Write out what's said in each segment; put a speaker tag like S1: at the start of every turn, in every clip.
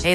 S1: Hey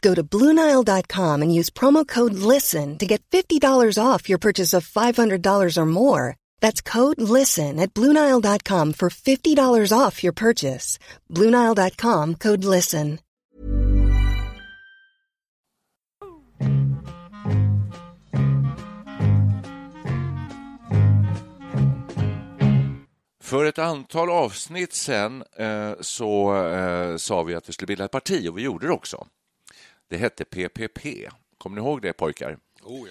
S2: Go to Bluenile.com and use promo code LISTEN to get $50 off your purchase of $500 or more. That's code LISTEN at Bluenile.com for $50 off your purchase. Bluenile.com code LISTEN.
S3: För ett antal avsnitt sen eh, så eh, sa vi att vi skulle bilda ett parti och vi gjorde det också. Det hette PPP. Kommer ni ihåg det pojkar?
S4: Oh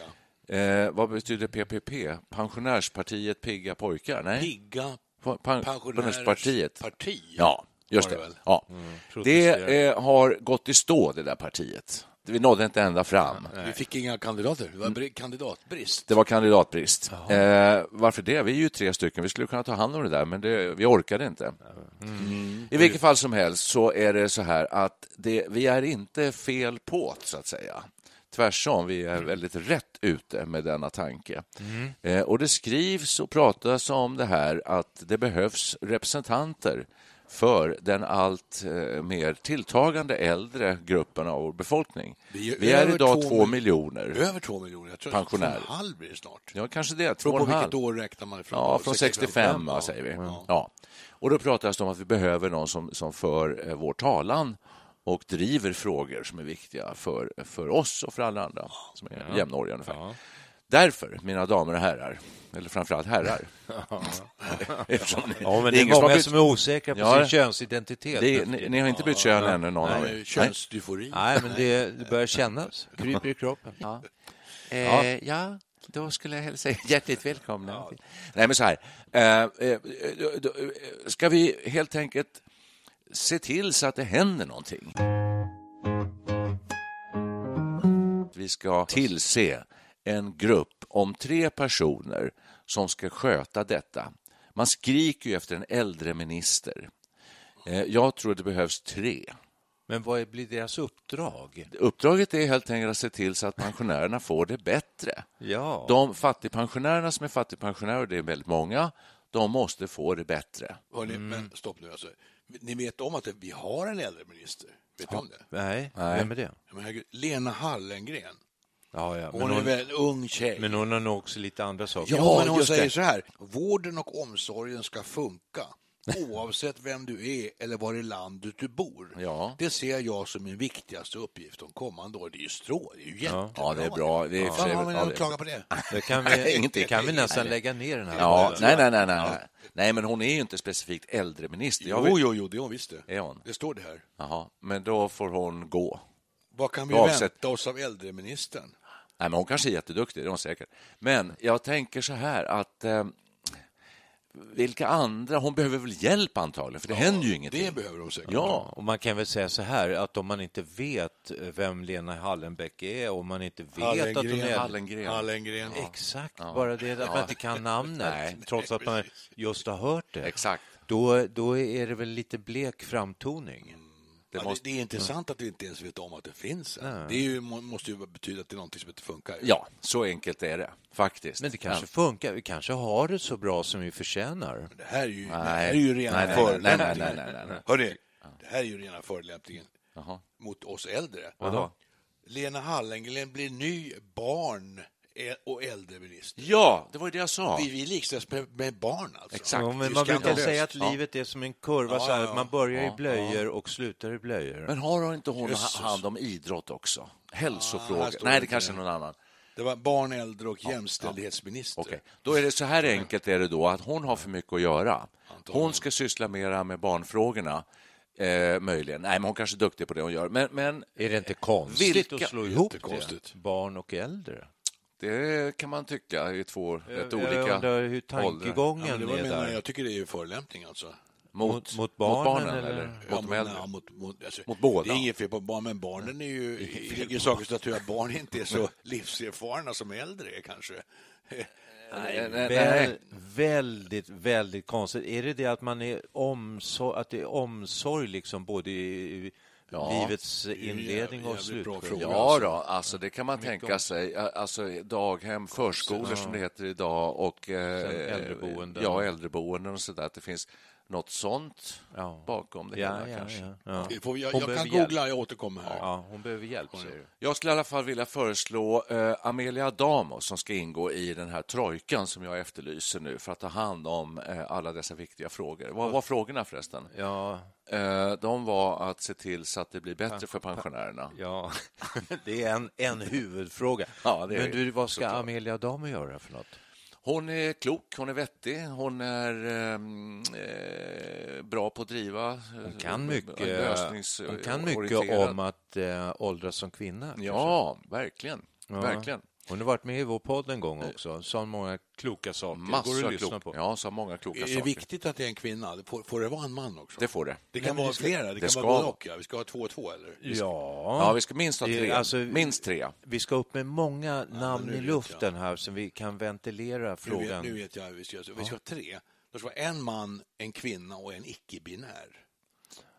S4: ja.
S3: Eh, vad betyder PPP? Pensionärspartiet Pigga pojkar? Nej,
S4: Pigga
S3: Pa- pen-
S4: pensionärspartiet. Parti.
S3: Ja, just
S4: var
S3: det.
S4: det väl. Mm.
S3: Ja.
S4: protesterar.
S3: det eh, har gått i stå, det där partiet. Vi nådde inte ända fram.
S4: Vi fick inga kandidater. Det var bri- kandidatbrist.
S3: Det var kandidatbrist. Eh, varför det? Vi är ju tre stycken. Vi skulle kunna ta hand om det där, men det, vi orkade inte.
S4: mm.
S3: Mm. I vilket fall som helst så är det så här att det, vi är inte fel på't, så att säga. Tvärsom, vi är väldigt rätt ute med denna tanke.
S4: Mm.
S3: Eh, och det skrivs och pratas om det här att det behövs representanter för den allt eh, mer tilltagande äldre gruppen av vår befolkning.
S4: Vi är
S3: Vi är
S4: över
S3: idag
S4: två
S3: två
S4: mil-
S3: miljoner.
S4: Över två miljoner. Jag tror att
S3: Pensionärer.
S4: två och en halv blir det snart.
S3: Ja, kanske det. två
S4: Från
S3: och
S4: på
S3: en halv.
S4: vilket år räknar man ifrån?
S3: Ja, från 65, ja, säger vi. Ja. Och då pratas det om att vi behöver någon som, som för eh, vår talan och driver frågor som är viktiga för, för oss och för alla andra som är jämnåriga ungefär. Därför, mina damer och herrar, eller framförallt herrar. Eftersom ni,
S5: Ja, men
S3: det är ingen som har
S5: många
S3: bytt-
S5: som är osäkra på
S3: Ja,
S5: sin
S3: det-
S5: könsidentitet.
S3: det är, ni, ni har inte bytt kön ännu, någon av
S4: Nej,
S3: er?
S4: Könsdysfori.
S5: Nej, men det, det börjar kännas. Kryper i kroppen. Ja.
S3: Eh, ja, då skulle jag hälsa er hjärtligt välkomna. Nej, men så här. Eh, eh, då- eh, ska vi helt enkelt se till så att det händer någonting? Vi ska tillse en grupp om tre personer som ska sköta detta. Man skriker ju efter en äldre minister. Eh, Jag tror det behövs tre.
S5: Men vad är- blir deras uppdrag?
S3: Uppdraget är helt enkelt att se till så att pensionärerna får det bättre.
S5: Ja.
S3: De fattigpensionärerna som är fattigpensionärer, och det är väldigt många, de måste få det bättre.
S4: Hörrni, Men stopp nu alltså. Ni vet om att det- vi har en äldreminister? Vet ni om det?
S5: Nej,
S3: Nej.
S5: vem är det?
S4: Men herregud, Lena Hallengren.
S5: Ja, ja. Men,
S4: Hon
S5: hon,
S4: är väl en ung tjej?
S5: men hon har nog också lite andra saker.
S4: Ja, men hon
S3: just
S4: säger
S3: det.
S4: så här. Vården och omsorgen ska funka oavsett vem du är eller var i landet du bor.
S3: Ja.
S4: Det ser jag som min viktigaste uppgift de kommande åren. Det är ju strå, det är ju jättebra.
S3: Ja, det är bra. Det är i och för
S4: Fan,
S3: sig-
S4: vad har
S3: ja,
S4: man
S3: det-
S4: att klaga på det?
S5: Det kan vi,
S3: Ingenting.
S5: det kan vi nästan lägga ner den här
S3: Ja,
S5: podden.
S3: nej, nej, nej, nej. Nej, men hon är ju inte specifikt äldreminister. Jag
S4: Jo,
S3: vet-
S4: jo, jo, det är hon visst det.
S3: Är hon?
S4: Det står det här.
S3: Jaha, men då får hon gå.
S4: Vad kan vi
S3: Oavsett-
S4: vänta oss av äldreministern?
S3: Nej, men hon kanske är jätteduktig, det är hon säkert. Men jag tänker så här att eh, vilka andra? Hon behöver väl hjälp antagligen, för det händer ju ingenting.
S4: Det behöver de säkert.
S3: Ja,
S5: Och man kan väl säga så här att om man inte vet vem Lena Hallenbäck är, om man inte vet att hon
S4: Hallengren.
S5: är
S3: Hallengren.
S4: Hallengren.
S5: Exakt, bara det att man inte kan namnet,
S3: Nej.
S5: trots att man just har hört det.
S3: Exakt.
S5: Då, då är det väl lite blek framtoning.
S4: Det,
S3: måste-
S4: det är intressant att vi inte ens vet om att det finns. en. Det är ju, må- måste ju betyda att det är någonting som inte funkar.
S3: ja, så enkelt är det faktiskt.
S5: Men det kanske funkar. Vi kanske har det så bra som vi förtjänar.
S4: Det här är ju, det
S3: Nej.
S4: här är ju rena
S3: Nej, nej, nej, nej, nej, nej, nej, nej.
S4: Hörrni, det här är ju rena förolämpningen
S3: Jaha.
S4: mot oss äldre.
S3: Vadå?
S4: Lena Hallengren blir ny barn ä- och äldreminister.
S3: Ja, det var ju det jag sa.
S4: Vi, vi likställs med, med barn alltså.
S3: Exakt.
S5: Ja, men
S4: Det är
S5: man brukar
S4: skandalöst.
S5: säga att
S3: Ja.
S5: livet är som en kurva, så här,
S4: ja, ja.
S5: man börjar i blöjor och slutar i blöjor.
S3: Men har hon inte hon
S4: Jösses.
S3: hand om idrott också? Hälsofrågor?
S4: här står
S3: Nej,
S4: det
S3: det
S4: inte
S3: kanske är
S4: det.
S3: någon annan.
S4: Det var barn, äldre och jämställdhetsminister.
S3: Okej. Då är det så här enkelt är det då att hon har för mycket att göra. Hon ska syssla mera med barnfrågorna. Eh, möjligen. Nej, men hon kanske är duktig på det hon gör. Men, men
S5: Är det inte konstigt
S3: Vilka-
S5: Eh, att slå ihop
S4: Jättekonstigt.
S5: det? Barn och äldre?
S3: det kan man tycka är två rätt
S5: jag,
S3: olika
S5: jag undrar hur
S3: åldrar.
S4: Ja, men
S5: tankegången
S4: det var
S5: är
S4: menar,
S5: där.
S4: jag tycker det är ju förolämpning alltså.
S3: Mot,
S5: Mot-
S3: mot
S5: mot
S3: barnen,
S5: barnen
S3: eller,
S5: eller?
S3: Mm. mot de
S4: men,
S3: äldre?
S4: ja, mot, mot, alltså,
S3: Mot båda.
S4: Det är inget fel på barn, men barnen är ju, det ligger i sakens natur att barn inte är så livserfarna som äldre är kanske.
S3: Nej, nej,
S5: Väl,
S3: nej.
S5: väldigt, väldigt konstigt. Är det det att man är omsorg, att det är omsorg liksom både i
S3: Ja.
S5: livets inledning och Liksom?
S4: jävligt bra
S5: slutskede?
S4: fråga.
S3: Ja, då, alltså det kan man tänka sig. Alltså daghem, förskolor som det heter idag och eh,
S5: Sen äldreboenden.
S3: Ja, äldreboenden och så där. Att det finns något sånt
S5: Ja.
S3: bakom det
S5: Ja,
S3: hela
S5: ja,
S3: kanske.
S5: ja, ja.
S4: Det får vi- Jag,
S5: Hon
S4: jag kan
S5: behöver
S4: googla, jag återkommer här.
S5: Ja, hon behöver hjälp, säger du.
S3: Jag skulle i alla fall vilja föreslå eh, Amelia Damo som ska ingå i den här trojkan som jag efterlyser nu för att ta hand om eh, alla dessa viktiga frågor. Vad var frågorna förresten?
S5: Ja,
S3: Eh, de var att se till så att det blir bättre för pensionärerna.
S5: ja. det är en, en huvudfråga.
S3: Ja, det är
S5: Men du, vad ska
S3: såklart.
S5: Amelia Damo göra för något?
S3: Hon är klok, hon är vettig, hon är ehm, eh, bra på att driva. eh, Hon
S5: Kan mycket, eh, hon kan mycket om att eh, åldras som kvinna.
S3: Ja, verkligen. verkligen.
S5: Hon har varit med i vår podd en gång också, sa många kloka saker.
S3: Massor
S5: Går
S3: av
S5: att lyssna
S3: kloka,
S5: på.
S3: ja, så många kloka
S4: Är det
S3: saker.
S4: viktigt att det är en kvinna? Det Får, får det vara en man också?
S3: Det får det.
S4: Det kan
S5: men
S4: vara
S5: det ska-
S4: flera, det,
S3: det
S4: kan
S3: ska
S4: vara både
S3: vara.
S4: och. Ja. Vi ska ha två och två, eller?
S5: Ja.
S3: Ja, vi ska minst ha
S5: Det är-
S3: tre.
S5: alltså-
S3: minst tre.
S5: Vi ska upp med många namn
S4: nu
S5: i
S4: vet
S5: luften här så vi kan ventilera
S4: Nu vet,
S5: frågan.
S4: nu vet jag hur vi ska göra. Vi ska ha tre. Det ska vara en man, en kvinna och en icke-binär.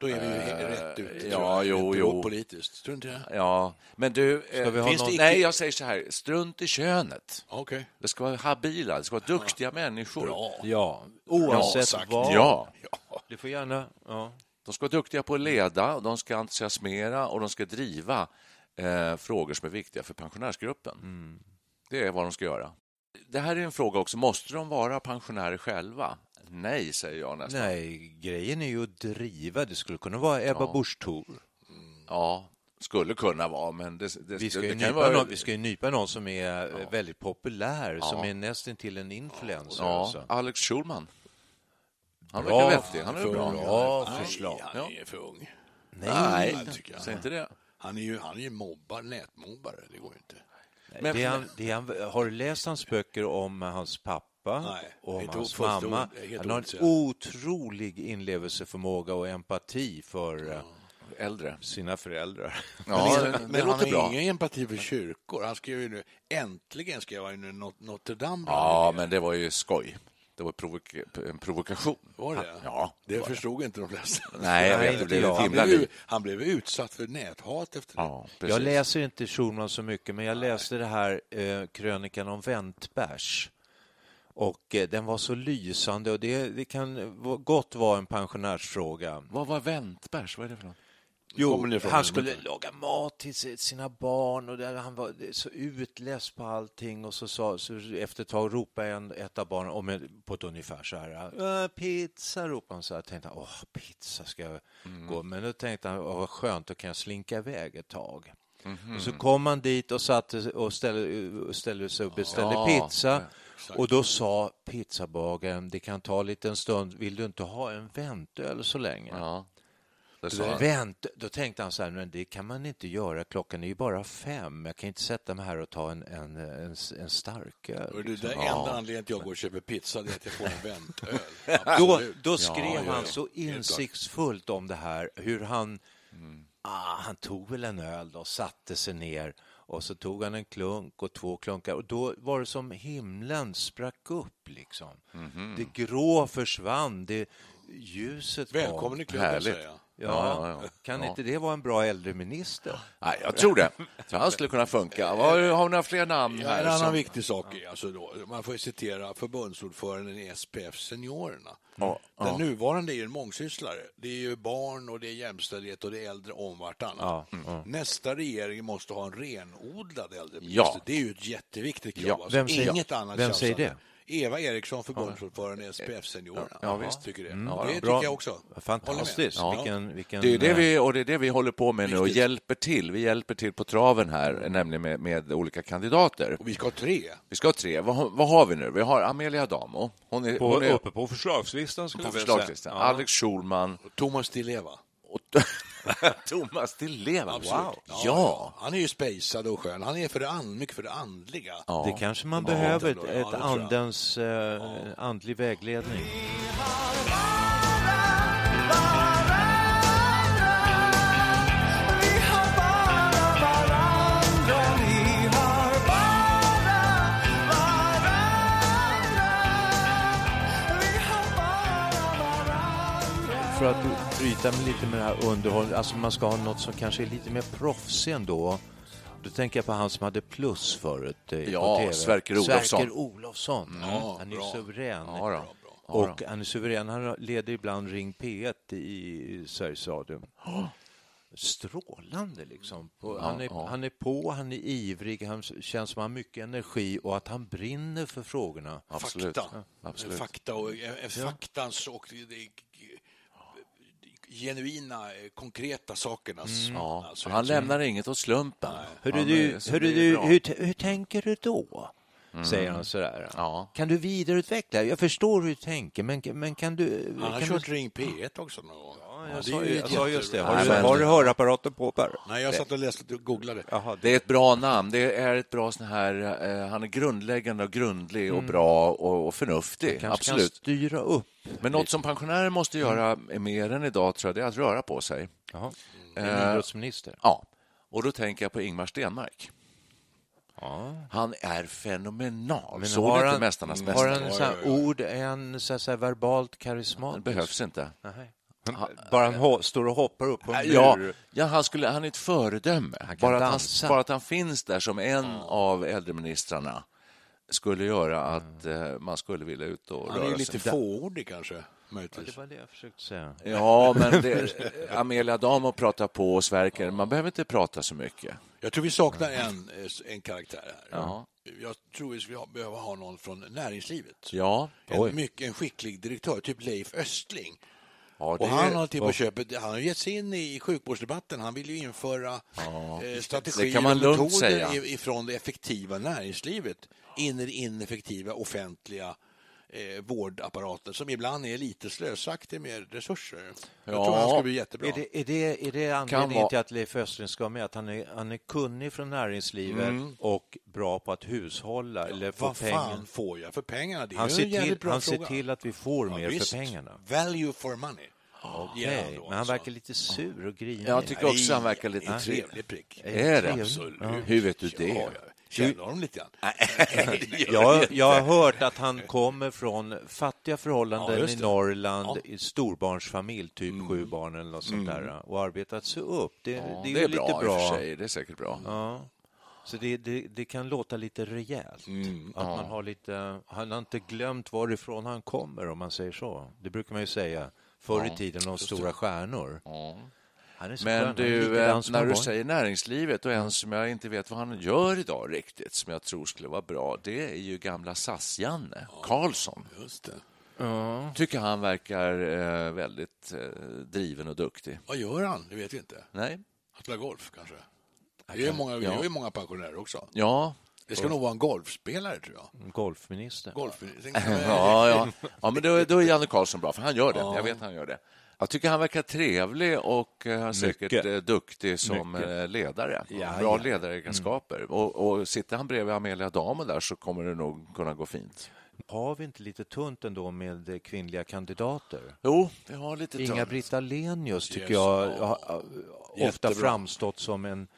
S4: Då är vi ju he- rätt ute, tror
S3: Eh, ja,
S4: jag.
S3: jo,
S4: Rätt
S3: jo.
S4: Politiskt, tror du inte det?
S3: Ja, men du... eh,
S5: vi ha
S3: finns
S5: någon-
S3: det icke... Nej, jag säger så här, strunt i könet.
S4: Okej.
S3: Det ska vara habila, det ska vara duktiga människor.
S4: Bra.
S5: Ja, oavsett
S4: sagt.
S5: vad.
S3: Ja,
S4: Ja.
S5: Du får gärna... Ja.
S3: de ska vara duktiga på att leda, och de ska entusiasmera och de ska driva eh, frågor som är viktiga för pensionärsgruppen.
S5: Mm.
S3: Det är vad de ska göra. Det här är en fråga också, måste de vara pensionärer själva? Nej, säger jag nästan.
S5: Nej, grejen är ju att driva. Det skulle kunna vara Ebba
S3: Ja.
S5: Busch Thor.
S3: Ja, skulle kunna vara, men det, det,
S5: Vi ska,
S3: det
S5: ju
S3: kan
S5: nypa
S3: vara...
S5: någon, vi ska ju nypa någon som är eh, väldigt populär, som är nästintill en influencer.
S3: Ja,
S5: Alltså.
S3: Alex Schulman. Han
S5: Bra.
S3: verkar vettig, han är
S5: För-
S3: bra.
S5: bra
S4: Nej,
S5: förslag.
S4: han är för ung.
S3: Nej,
S4: Nej, tycker jag.
S3: säg inte det.
S4: Han är ju, han är ju mobbar, nätmobbare. Det går ju inte.
S3: Men-
S5: det är han, det är han, har du läst hans böcker om hans pappa
S4: Nej,
S5: och om
S4: helt
S5: hans
S4: o- fullt
S5: mamma?
S4: o- helt
S5: Han har en
S4: ointresserad.
S5: otrolig inlevelseförmåga och empati för eh,
S3: Äldre.
S5: sina föräldrar.
S3: Ja,
S5: liksom,
S4: men
S3: det,
S4: han-
S3: det
S4: men han
S3: låter
S4: har
S3: bra.
S4: ingen empati för kyrkor. Han skrev ju nu, äntligen skrev han ju nu Not- Notre Dame.
S3: Ja, men det var ju skoj. Det var provoka- en provokation.
S4: Var det?
S3: Ja.
S4: Det förstod inte de flesta.
S3: Nej, jag
S5: Nej,
S3: vet, det
S5: inte
S3: blev
S5: jag.
S3: ett
S4: Han
S3: himla
S4: blev,
S3: liv.
S4: ju- han blev utsatt för näthat efter det.
S3: Ja, precis.
S5: Jag läser inte Schulman så mycket, men jag läste det här eh, krönikan om Väntbärs. Och eh, den var så lysande och det, det kan v- gott vara en pensionärsfråga.
S3: Vad var väntbärs? Vad är det för något?
S4: Kommer ni
S5: Jo,
S4: från
S5: han
S4: den?
S5: skulle laga mat till si- sina barn och där han var så utless på allting och så sa, så efter ett tag ropade en, ett av barnen om en- på ett ungefär så här, "Äh, pizza ropade han så här, tänkte han, åh pizza ska jag gå,
S3: Mm.
S5: men då tänkte han, åh, vad skönt, då kan jag slinka iväg ett tag.
S3: Mhm.
S5: Och så kom han dit och satte och ställde, och ställde sig och beställde
S3: Ja,
S5: pizza. Och då sa pizzabagaren, det kan ta en liten stund, vill du inte ha en väntöl så länge?
S3: Ja. Det sa han.
S5: Vänt, då tänkte han så här, men det kan man inte göra, klockan är ju bara fem, jag kan inte sätta mig här och ta en, en, en, en
S4: Och
S5: starköl.
S4: det där enda anledningen till att jag går och köper pizza det är att jag får en väntöl.
S5: Då,
S4: Absolut.
S5: då skrev
S3: ja, ja.
S5: han så insiktsfullt om det här, hur han,
S3: Mm.
S5: ah, han tog väl en öl då, satte sig ner och så tog han en klunk och två klunkar och då var det som himlen sprack upp liksom.
S3: Mhm.
S5: Det grå försvann, det, ljuset kom.
S4: Välkommen i klubben,
S3: härligt.
S4: säger jag.
S5: Ja,
S3: Ja, ja, ja.
S5: Kan
S3: Ja.
S5: inte det vara en bra äldreminister?
S3: Nej, jag tror det. Så han skulle kunna funka. Har, har vi några fler namn
S4: Ja, en
S3: här?
S4: annan
S3: som-
S4: viktig sak är alltså då, man får ju citera förbundsordföranden i SPF Seniorerna.
S3: Ja,
S4: Den
S3: ja.
S4: nuvarande är ju en mångsysslare. Det är ju barn och det är jämställdhet och det är äldre om vartannat. Nästa regering måste ha en renodlad äldreminister.
S3: Ja.
S4: Det är ju ett jätteviktigt krav.
S3: Ja,
S4: Alltså,
S5: vem säger-
S4: Inget annat
S5: vem säger
S4: tjafsande. Eva Eriksson, förbundsordförande i SPF Seniorerna.
S3: Ja, visst.
S4: tycker det.
S3: ja,
S4: det
S3: ja.
S4: tycker
S5: Bra.
S4: jag också.
S5: Fantastiskt.
S4: Håller med. Ja.
S5: Vilken, vilken,
S3: Det är det
S5: eh,
S3: vi, och det är det vi håller på med nu och hjälper till. Vi hjälper till på traven här, nämligen med, med olika kandidater.
S4: Och vi ska ha tre.
S3: Vi ska ha tre. Vad, vad har vi nu? Vi har Amelia Damo. Hon är,
S6: På,
S3: hon är
S6: uppe på förslagslistan skulle
S3: på
S6: jag vilja säga.
S3: förslagslistan. Alex Schulman
S4: Thomas Di Leva.
S3: och Thomas Di Leva. Wow.
S4: Ja,
S3: Ja.
S4: Han är ju spejsad och skön. Han är för det and, mycket för det andliga.
S5: Det kanske man
S4: Ja,
S5: behöver,
S4: det tror
S5: ett,
S4: jag. Ja,
S5: ett
S4: det tror jag.
S5: andens, eh, andlig vägledning. För att bryta med lite med det här underhållet, alltså man ska ha något som kanske är lite mer proffsig ändå. Då tänker jag på han som hade plus förut eh,
S3: Ja,
S5: på TV.
S3: Sverker Olofsson. Mm.
S5: Sverker Olofsson. han är ju suverän.
S3: Ja, då.
S5: Och han är suverän. Han leder ibland Ring P1 i Sveriges Radio. Strålande liksom. På, han, är, han är på, han är ivrig, han känns som han har mycket energi och att han brinner för frågorna.
S3: Absolut.
S4: Fakta.
S3: Ja, absolut.
S4: Fakta och, eh, eh, faktans och det- det- genuina, eh, konkreta sakernas.
S3: Mm. Ja.
S4: alltså,
S3: han lämnar inget åt slumpen.
S5: Hörru
S3: Han
S5: du,
S3: är- så
S5: hörru
S3: det är ju
S5: du
S3: bra. Mm.
S5: hur, t- hur tänker du då? Säger han sådär.
S3: Ja.
S5: Kan du vidareutveckla? Jag förstår hur du tänker, men, men kan du...
S4: Han har
S5: kan
S4: kört
S5: du...
S4: Ring P1 också någon gång. det är
S5: Ja, jag sa
S4: ju
S5: ju-
S4: ett
S5: jag sa just det.
S4: jättebra-
S5: Har
S3: Nej,
S5: du,
S3: men-
S5: har du hörapparaten på Per?
S4: Nej, jag satt och läste och googlade.
S5: Jaha,
S3: Det är ett bra namn. Det är ett bra sån här... Eh, han är grundläggande och grundlig och bra och, och förnuftig.
S5: Mm. kanske kan Mm.
S3: Absolut.
S5: styra upp.
S3: Men något som pensionärer måste göra mer än idag tror jag, det är att röra på sig.
S5: Jaha. Mm.
S3: Eh,
S5: En idrottsminister.
S3: Ja. Och då tänker jag på Ingmar Stenmark. Han är fenomenal.
S5: Men
S3: Såg
S5: har
S3: du inte
S5: han,
S3: Mästarnas
S5: har
S3: mästare?
S5: han så här ord, är han så här, så här verbalt karismatisk?
S3: Det behövs inte.
S5: Nej. Bara han ho- står och hoppar upp på en mur.
S3: Ja, ja, han, skulle, han är ett föredöme.
S5: kan
S3: Bara att,
S5: dansa.
S3: han, bara att han finns där som en av äldreministrarna skulle göra att eh, man skulle vilja ut och
S4: Han är
S3: röra
S4: ju
S3: sig.
S4: lite fåordig kanske, möjligtvis.
S5: Det var det jag försökte säga.
S3: Ja, men det, eh, Amelia Damo pratar på och Sverker, man behöver inte prata så mycket.
S4: Jag tror vi saknar en, eh, en karaktär här. Jag tror vi skulle ha- behöva ha någon från näringslivet.
S3: Ja,
S4: En, mycket, en skicklig direktör, typ Leif Östling.
S3: ja det
S4: Och han
S3: är-
S4: har till på köpet, han har gett sig in i sjukvårdsdebatten. Han vill ju införa eh, strategier
S3: Det kan man
S4: och
S3: lugnt
S4: metoder
S3: säga.
S4: i- ifrån det effektiva näringslivet in i det ineffektiva offentliga eh, vårdapparaten som ibland är lite slösaktig med resurser. Jag
S3: Ja.
S4: tror han skulle bli jättebra.
S5: Är det, är det, är det anledningen
S3: vara.
S5: till att Leif Östling ska vara med? Att han är, han är kunnig från näringslivet och bra på att hushålla eller få
S4: Mm. Vad
S5: pengar.
S4: fan får jag för pengarna? Det är
S5: Han
S4: ju
S5: ser,
S4: en jävligt
S5: till,
S4: bra
S5: han ser
S4: fråga.
S5: till att vi får mer
S4: Visst.
S5: för pengarna.
S4: Value for money. ger
S5: Nej,
S4: då
S5: men han
S4: alltså.
S5: verkar lite sur och grinig.
S3: Jag tycker också han verkar
S4: Det är
S3: lite
S4: en
S3: trevlig.
S4: trevlig prick.
S3: Är det?
S5: Absolut.
S3: Hur vet du
S4: Ja,
S3: det? Äh,
S4: jag känner honom lite grann.
S5: Jag, jag har hört att han kommer från fattiga
S4: Ja,
S5: förhållanden
S4: just
S5: i
S4: det. Mm.
S5: Norrland, i storbarnsfamilj, typ sju barn eller något sånt där, och arbetat sig upp. Det, det är, ju lite
S3: bra, i och för
S5: bra.
S3: sig. Det är säkert bra.
S5: Så det, det, det kan låta lite rejält.
S4: Mm.
S5: att man har lite, han har inte glömt varifrån han kommer, om man säger så. Det brukar man ju säga förr i tiden om stora stjärnor. Han är så skön,
S3: Men
S5: han är
S3: du,
S5: likadan
S3: eh,
S5: som
S3: när
S5: han
S3: du
S5: var.
S3: säger näringslivet och en som jag inte vet vad han gör idag riktigt, som jag tror skulle vara bra, det är ju gamla SAS-Janne Karlsson.
S4: Just det.
S3: Tycker han verkar eh, väldigt eh, driven och duktig.
S4: Vad gör han? Det vet vi inte.
S3: Nej?
S4: Han spelar golf kanske. Det är, många, det är ju många pensionärer också.
S3: Ja.
S4: Det ska nog vara en golfspelare, tror jag.
S5: Golfminister.
S4: Golf.
S3: Ja, ja. ja men då, då är Janne Karlsson bra, för han gör det. Jag vet han gör det. Jag tycker han verkar trevlig och eh, säkert
S5: Mycket.
S3: eh, duktig som eh, ledare. Bra ledaregenskaper.
S5: Mm.
S3: Och, och sitter han bredvid Amelia Damo där så kommer det nog kunna gå fint.
S5: Har vi inte lite tunt ändå med eh, kvinnliga kandidater?
S3: Jo, vi har lite tunt.
S5: Inga-Britt Ahlenius tycker jag har, har ofta framstått som en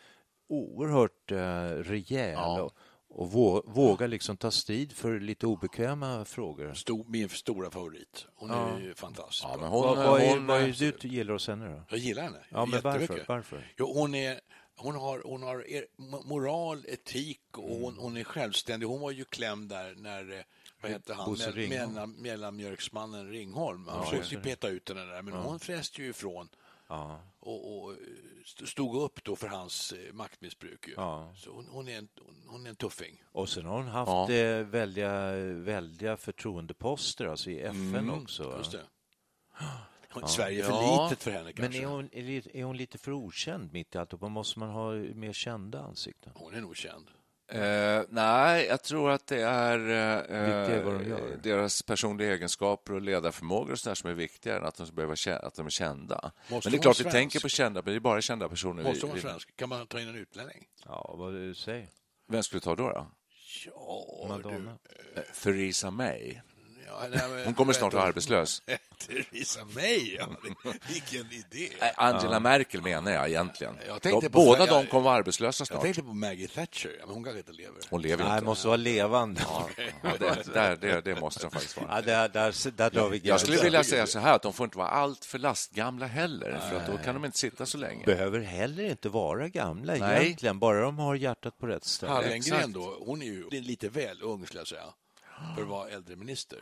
S5: oerhört eh, rejäl och, och vå, vågar liksom ta strid för lite obekväma frågor.
S4: Stor, min stora favorit. Hon är ju fantastisk.
S3: Ja, men
S4: bra.
S3: hon, eh,
S5: Vad, vad, är,
S3: hon,
S5: vad är det du gillar hos henne då?
S4: Jag gillar henne
S5: Ja, men varför?
S4: jättemycket.
S5: Varför?
S4: Jo, hon, är, hon har, hon har er, mo- moral, etik och hon,
S5: Mm.
S4: hon är självständig. Hon var ju klämd där när eh, vad hette han?
S5: Bosse
S4: Mell-
S5: Ringholm.
S4: Mellan, mellanmjölksmannen Ringholm. Han försökte ju peta ut henne där, men hon fräste ju ifrån.
S5: Ja.
S4: och, och st- stod upp då för hans eh, maktmissbruk. Ju.
S5: Ja.
S4: Så hon, hon, är en, hon, hon är en tuffing.
S5: Och sen har hon haft
S3: Ja.
S5: eh, väldiga, väldiga förtroendeposter alltså i FN också. va?
S4: Mm, Just det. Hon- Sverige är för
S3: Ja.
S4: litet för henne
S5: Men
S4: kanske.
S5: är hon, är, li- är hon lite för okänd mitt i alltihopa? Måste man ha mer kända ansikten?
S4: hon är nog känd.
S3: Eh, nej, jag tror att det är eh,
S5: Viktigare vad de gör.
S3: deras personliga egenskaper och ledarförmågor och sådär som är viktigare än att de, behöver, kä- att de är kända.
S4: Måste
S3: men det är
S4: hon
S3: klart,
S4: vara
S3: vi
S4: svensk?
S3: tänker på kända, men det är bara kända personer.
S4: Måste
S3: vi,
S4: hon vara
S3: vi-
S4: svensk? Kan man ta in en utlänning?
S5: Ja, vad du säger.
S3: Vem skulle vi ta då? då?
S4: Ja,
S5: Madonna.
S3: Eh, Theresa May.
S4: du. Ja, nej, men-
S3: Hon kommer snart att vara
S4: vänta.
S3: arbetslös.
S4: Theresa May, ja. det- vilken idé.
S3: Nej, Eh, Angela Merkel menar jag egentligen.
S4: Eh, Jag tänkte
S3: de,
S4: på-
S3: båda
S4: jag-
S3: de kommer vara arbetslösa
S4: Jag
S3: snart.
S4: tänkte på Maggie Thatcher, ja, men hon kanske inte lever.
S3: Hon lever
S5: Nej,
S3: inte.
S5: måste vara levande.
S3: Ja, det, där, det, det måste de faktiskt vara.
S5: Ja, där, där, där drar vi gränsen.
S3: Jag skulle vilja säga så här att de får inte vara allt för lastgamla heller, för att då kan de inte sitta så länge.
S5: behöver heller inte vara gamla
S3: Nej.
S5: egentligen, bara de har hjärtat på rätt ställe.
S4: Hallengren
S3: exakt.
S4: då, hon är ju det är lite väl ung skulle jag säga, för att vara äldreminister.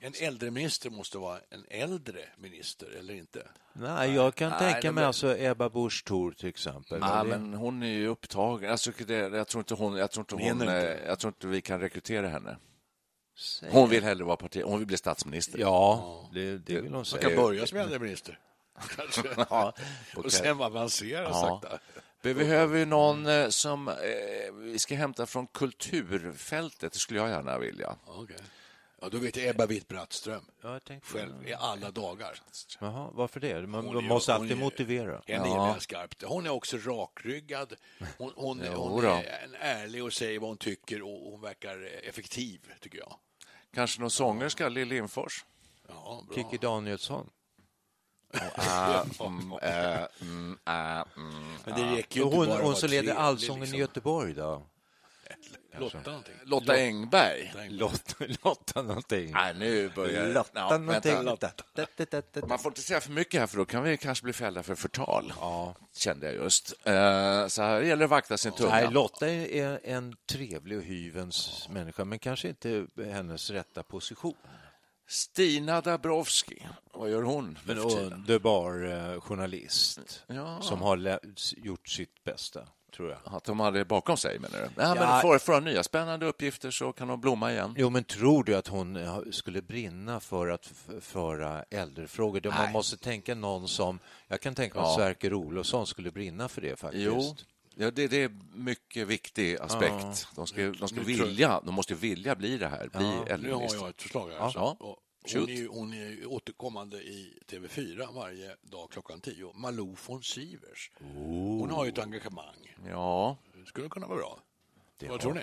S4: En äldreminister måste vara en äldre minister, eller inte?
S5: Nej, jag kan
S3: Nej,
S5: tänka
S3: de
S5: mig
S3: är-
S5: alltså Ebba Busch Thor till exempel.
S3: Ja,
S5: Det-
S3: men hon är ju upptagen. Alltså, det, jag, tror inte hon, jag, tror inte hon,
S4: Menar du
S3: eh, jag tror inte vi kan rekrytera henne.
S5: Säg-
S3: Hon vill hellre vara parti... Hon vill bli statsminister.
S5: Ja, det, det vill hon
S4: Man kan
S3: Eh,
S5: säga.
S4: börja som äldreminister, kanske. Och sen avancera
S3: Ja.
S4: sakta.
S3: Vi behöver ju någon eh, som eh, vi ska hämta från kulturfältet. Det skulle jag gärna vilja.
S4: Okej. Ja, då vet jag Ebba Witt-Brattström
S5: Ja, jag tänkte...
S4: själv i alla dagar.
S5: Jaha, varför det? Man,
S4: Hon
S5: man
S4: är-
S5: måste
S4: hon
S5: alltid
S4: är-
S5: motivera.
S4: Henne gillar jag skarpt. Hon är också rakryggad. Hon, hon, hon
S3: då.
S4: är en ärlig och säger vad hon tycker och hon verkar effektiv, tycker jag.
S3: Kanske någon sångerska, Lill Lindfors?
S4: Ja, bra.
S5: Kikki Danielsson.
S3: Mm, eh,
S4: Men det räcker ju inte
S5: Hon,
S4: bara att
S5: hon
S4: vara
S5: som leder
S4: trevlig,
S5: Allsången
S4: liksom.
S5: i Göteborg då?
S3: Alltså.
S4: Lotta någonting.
S3: Lotta Engberg?
S5: Lotta, Lotta någonting.
S3: Nej, nu börjar
S5: Lotta
S3: Ja, vänta.
S5: någonting. Lotta. Da, da, da, da, da.
S3: Man får inte säga för mycket här, för då kan vi kanske bli fällda för förtal, kände jag just. Eh, Så här gäller det att vakta sin
S5: Nej,
S3: tunga.
S5: Lotta är en trevlig och hyvens människa, men kanske inte hennes rätta position.
S3: Stina Dabrowski, vad gör hon?
S5: Men
S3: nu för tiden?
S5: underbar eh, journalist
S3: Ja.
S5: som har lä- s- gjort sitt bästa, tror jag.
S3: Att de hade bakom sig, menar du? Ja,
S5: Ja.
S3: men får, får de nya spännande uppgifter så kan de blomma igen.
S5: Jo, men tror du att hon eh, skulle brinna för att f- föra äldrefrågor? Det- Man
S3: Nej.
S5: måste tänka någon som... Jag kan tänka mig att
S3: Ja.
S5: Sverker Olofsson skulle brinna för det faktiskt.
S3: Jo, ja, det, det är mycket viktig aspekt. De ska, de ska vilja, de måste vilja bli det här, bli
S4: Nu har
S3: äldreminister.
S4: jag ett förslag här. alltså.
S3: Ja.
S4: Och
S3: Shoot.
S4: Hon, är, ju- hon är ju återkommande i TV4 varje dag klockan 10. Malou von Sivers.
S3: Oh.
S4: Hon har ju ett engagemang.
S3: Ja,
S4: Det skulle kunna vara bra. Vad tror ni?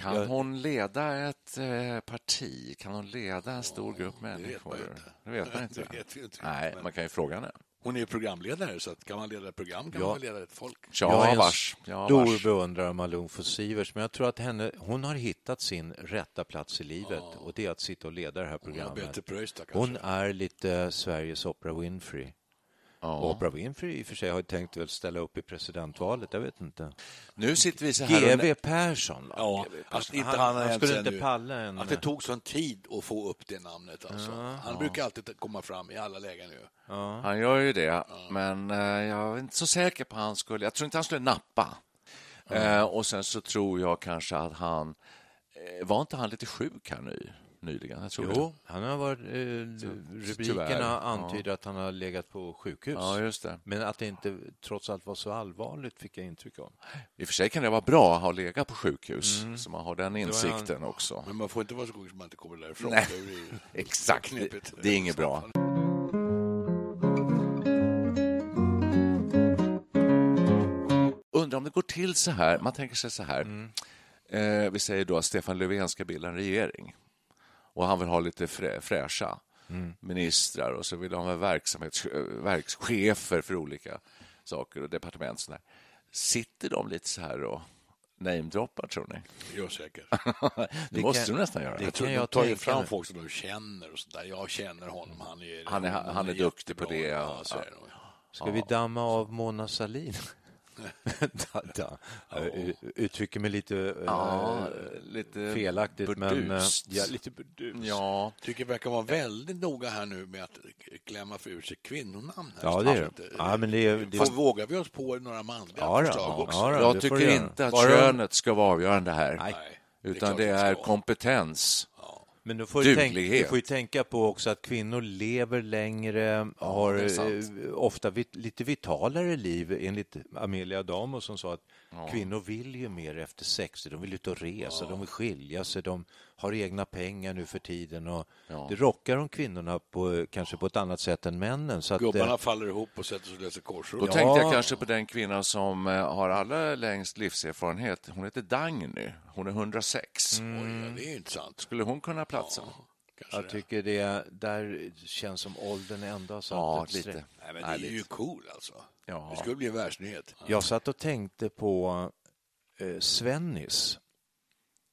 S3: kan hon leda ett eh, parti? Kan hon leda en stor grupp människor?
S4: man ju inte.
S3: Det vet man inte.
S4: Det vet vi ju inte.
S3: Nej,
S4: typ. Men-
S3: man kan ju fråga henne.
S4: Hon är ju programledare, så att kan man leda ett program kan
S5: Ja.
S4: man väl leda ett folk.
S5: Jag är
S3: Ja,
S5: en
S3: vars. Ja,
S5: stor
S3: vars.
S5: beundrare av Malou von Sivers, men jag tror att henne, hon har hittat sin rätta plats i livet och det är att sitta och leda det här
S4: Ja,
S5: programmet.
S4: Bete Preus då, kanske.
S5: Hon är lite Sveriges Oprah Winfrey. Och Oprah Winfrey i och för sig har ju tänkt väl ställa upp i presidentvalet, jag vet inte.
S3: Nu sitter vi så här och...
S5: G.W. Persson, va?
S4: Ja, att inte
S5: Han-
S4: han,
S5: han
S4: ens
S5: skulle inte
S4: ännu-
S5: palla en-
S4: Att det tog sån tid att få upp det namnet. Alltså. han brukar alltid komma fram i alla lägen nu.
S3: Han gör ju det, men eh, jag är inte så säker på han skulle... Jag tror inte han skulle nappa. Eh, och sen så tror jag kanske att han... Eh, var inte han lite sjuk här ny, nyligen? Jag tror
S5: Jo, han har varit, eh,
S3: tyvärr,
S5: rubrikerna
S3: ja.
S5: antyder att han har legat på sjukhus.
S3: Ja, just det.
S5: Men att det inte trots allt var så allvarligt fick jag intryck av.
S3: det. I och för sig kan det vara bra att ha legat på sjukhus, så man har den
S5: Mm. han-
S3: insikten också.
S4: Men man får inte vara så god som man inte kommer därifrån.
S3: Nej,
S4: Det blir ju-
S3: Exakt,
S4: knepigt.
S3: det är inget bra. Undrar om det går till så här, man tänker sig så här.
S5: Mm.
S3: Eh, vi säger då att Stefan Löfven ska bilda en regering och han vill ha lite frä, fräscha
S5: Mm.
S3: ministrar och så vill han ha verksamhets, eh, verkschefer för olika saker och departement. Sådär. Sitter de lite så här och namedroppar, tror ni?
S4: Jag är säker.
S3: Det, måste de nästan göra.
S5: det
S4: Jag tror
S5: kan
S4: de
S5: jag
S4: tar ju
S5: tänka
S4: fram
S5: mig.
S4: folk som de känner och sådär. Jag känner honom. Han är,
S3: Han är- han är duktig på
S4: jättebra.
S3: det, ja.
S4: Ja, så är det nog.
S5: Ska vi damma av Mona Sahlin? da, da. Jag u- uttrycker mig lite, eh,
S3: Ja, lite
S5: felaktigt, men eh,
S3: burdust.
S5: ja, lite burdust.
S3: Ja,
S4: Tycker verkar vara väldigt noga här nu med att klämma för ur sig kvinnonamn. Här.
S5: Ja, det är det. Ja, men det är, det
S4: Får,
S5: är,
S4: vågar vi oss på några manliga
S5: Ja, då.
S4: förslag också?
S5: Ja, då.
S3: jag
S5: det får du
S3: tycker
S5: göra.
S3: inte att
S5: Bara-
S3: könet ska vara avgörande här,
S4: Nej,
S3: utan
S4: klart
S3: det
S4: att
S3: är
S4: ska.
S3: kompetens.
S5: men då får du, tänka,
S3: Duglighet.
S5: du får ju tänka på också att kvinnor lever längre, har
S3: det är sant.
S5: eh, ofta vit, lite vitalare liv enligt Amelia Damo som sa att kvinnor vill ju mer efter 60, de vill ut och resa, de vill skilja sig, de har egna pengar nu för tiden och det rockar de kvinnorna på, eh, kanske på ett annat sätt än männen. Så att, eh,
S4: Gubbarna faller ihop och sätter sig och läser
S3: Då
S4: korsord.
S3: tänkte jag kanske på den kvinnan som eh, har allra längst livserfarenhet. Hon heter Dagny, hon är 106.
S5: Mm.
S4: Oj, ja, det är ju inte sant.
S3: Skulle hon kunna platsa?
S4: Kanske
S5: jag
S4: det.
S5: tycker det där känns som åldern ändå har satt
S3: Ja,
S5: ett streck.
S3: lite.
S4: Nej, men det är ju cool alltså.
S3: Ja.
S4: Det skulle bli en världsnyhet.
S5: Jag satt och tänkte på eh, Svennis.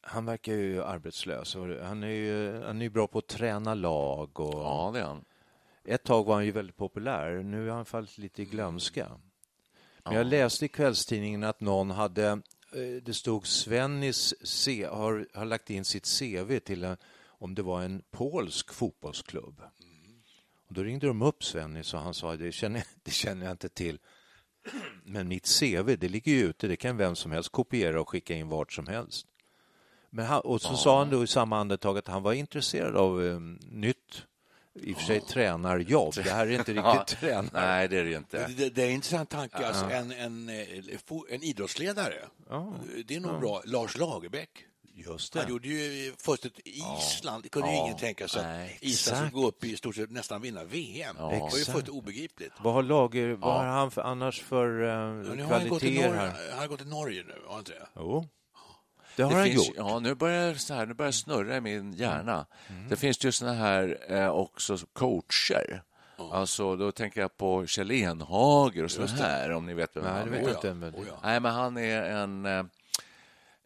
S5: Han verkar ju arbetslös. och Han är ju, han är ju bra på att träna lag. Och
S3: Ja, det är han.
S5: Ett tag var han ju väldigt populär. Nu har han fallit lite i glömska. Men jag läste i kvällstidningen att någon hade, eh, det stod Svennis C, har, har lagt in sitt CV till en, om det var en polsk fotbollsklubb. Och då ringde de upp Svennis och han sa det känner, det känner jag inte till. Men mitt CV det ligger ju ute, det kan vem som helst kopiera och skicka in vart som helst. Men han, och så sa han då i samma andetag att han var intresserad av eh, nytt, i och för sig tränarjobb. Det här är inte riktigt tränare.
S3: Nej, det är det ju
S4: Det,
S3: inte.
S4: det, det är en intressant tanke. Alltså, en, en, eh, fo- en idrottsledare, det är nog bra. Lars Lagerbäck.
S5: Just
S4: Han gjorde ju först ett Island, det kunde ju ingen tänka sig
S3: Nej,
S4: att Island
S5: exakt.
S4: skulle gå upp i stort sett nästan vinna VM. Det var ju
S5: Exakt.
S4: först obegripligt.
S5: Vad har Lager, vad har han för, annars för
S4: Men nu
S5: eh,
S4: har han, gått till
S5: kvaliteter
S4: Norge,
S5: här?
S4: han har gått till Norge nu, har han inte det?
S5: Jo, det har
S3: Det
S5: han
S3: finns,
S5: gjort.
S3: ja, nu börjar så här, nu börjar snurra i min hjärna.
S5: Mm.
S3: Det finns ju såna här eh, också coacher. Alltså, då tänker jag på Kjell Enhager och så här, om ni vet vem
S5: Nej,
S3: han
S5: det
S3: är.
S5: vet jag inte. Men...
S4: Oh, ja.
S3: Nej, men han är en... eh,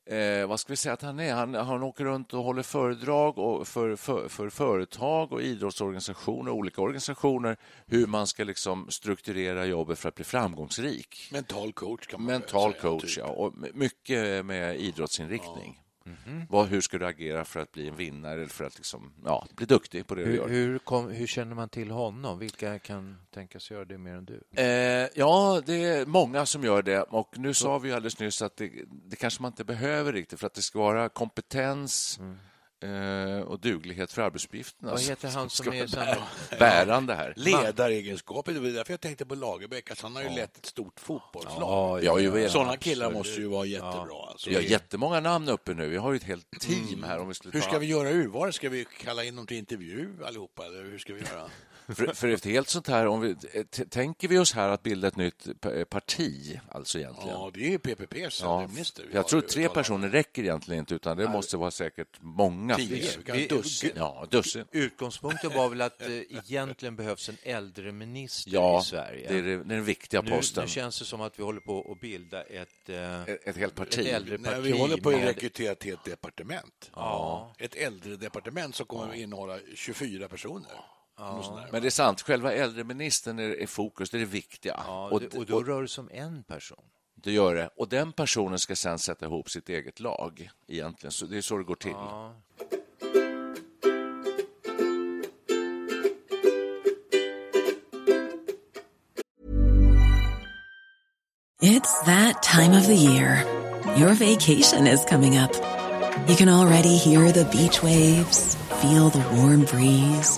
S3: Eh, vad ska vi säga att han är? Han, han åker runt och håller föredrag och för, för, för företag och idrottsorganisationer och olika organisationer hur man ska liksom strukturera jobbet för att bli framgångsrik.
S4: Mental coach kan man väl
S3: Mental
S4: säga,
S3: coach,
S4: typ.
S3: ja. Och my- mycket med idrottsinriktning.
S4: Mhm.
S3: Vad, hur ska du agera för att bli en vinnare eller för att liksom, ja, bli duktig på det du
S5: Hur,
S3: gör?
S5: hur, kom, hur känner man till honom? Vilka kan tänkas göra det mer än du?
S3: Eh, ja, det är många som gör det. Och nu sa vi ju alldeles nyss att det, det kanske man inte behöver riktigt för att det ska vara kompetens eh, och duglighet för arbetsuppgifterna.
S5: Vad heter han som
S3: ska
S5: är
S3: vara
S5: samma-
S3: bär, bärande här?
S4: Ledaregenskaper, det var därför jag tänkte på Lagerbäck, att han har ju lett ett stort fotbollslag.
S3: Ja, ju, väl.
S4: Sådana killar måste ju vara jättebra. Alltså.
S3: Vi har jättemånga namn uppe nu. Vi har ju ett helt team här. Om vi skulle
S4: Hur
S3: ta-
S4: ska vi göra urvalet? Ska vi kalla in dem till intervju allihopa, eller hur ska vi göra?
S3: För, för ett helt sånt här, om vi, t- tänker vi oss här att bilda ett nytt p- parti, alltså egentligen?
S4: Ja, det är ju PPPs
S3: Ja,
S4: minister. vi
S3: jag
S4: har
S3: tror
S4: ju
S3: tre
S4: talat om.
S3: personer räcker egentligen inte, utan det måste vara säkert många
S4: Tio,
S3: fler.
S4: vi kan ha ett dussin.
S3: Ja, dussin.
S5: Utgångspunkten var väl att eh, egentligen behövs en äldreminister
S3: Ja,
S5: i Sverige.
S3: det är det- det är den viktiga
S5: nu,
S3: posten.
S5: nu känns det som att vi håller på att bilda ett... eh,
S3: Ett- Ett helt parti.
S5: Ett äldre-
S4: Nej, vi
S5: parti
S4: håller på att
S5: med-
S4: rekrytera till ett departement. Ett äldredepartement som kommer att innehålla 24 personer. Något sånt där.
S3: Men det är sant, själva äldreministern är, är fokus, det är det viktiga.
S5: ja,
S3: och,
S5: det- och
S3: och,
S5: då rör det sig om en person.
S3: det gör det. och den personen ska sen sätta ihop sitt eget lag, egentligen. Så det är så det går till.
S6: It's that time of the year. Your vacation is coming up. You can already hear the beach waves, feel the warm breeze,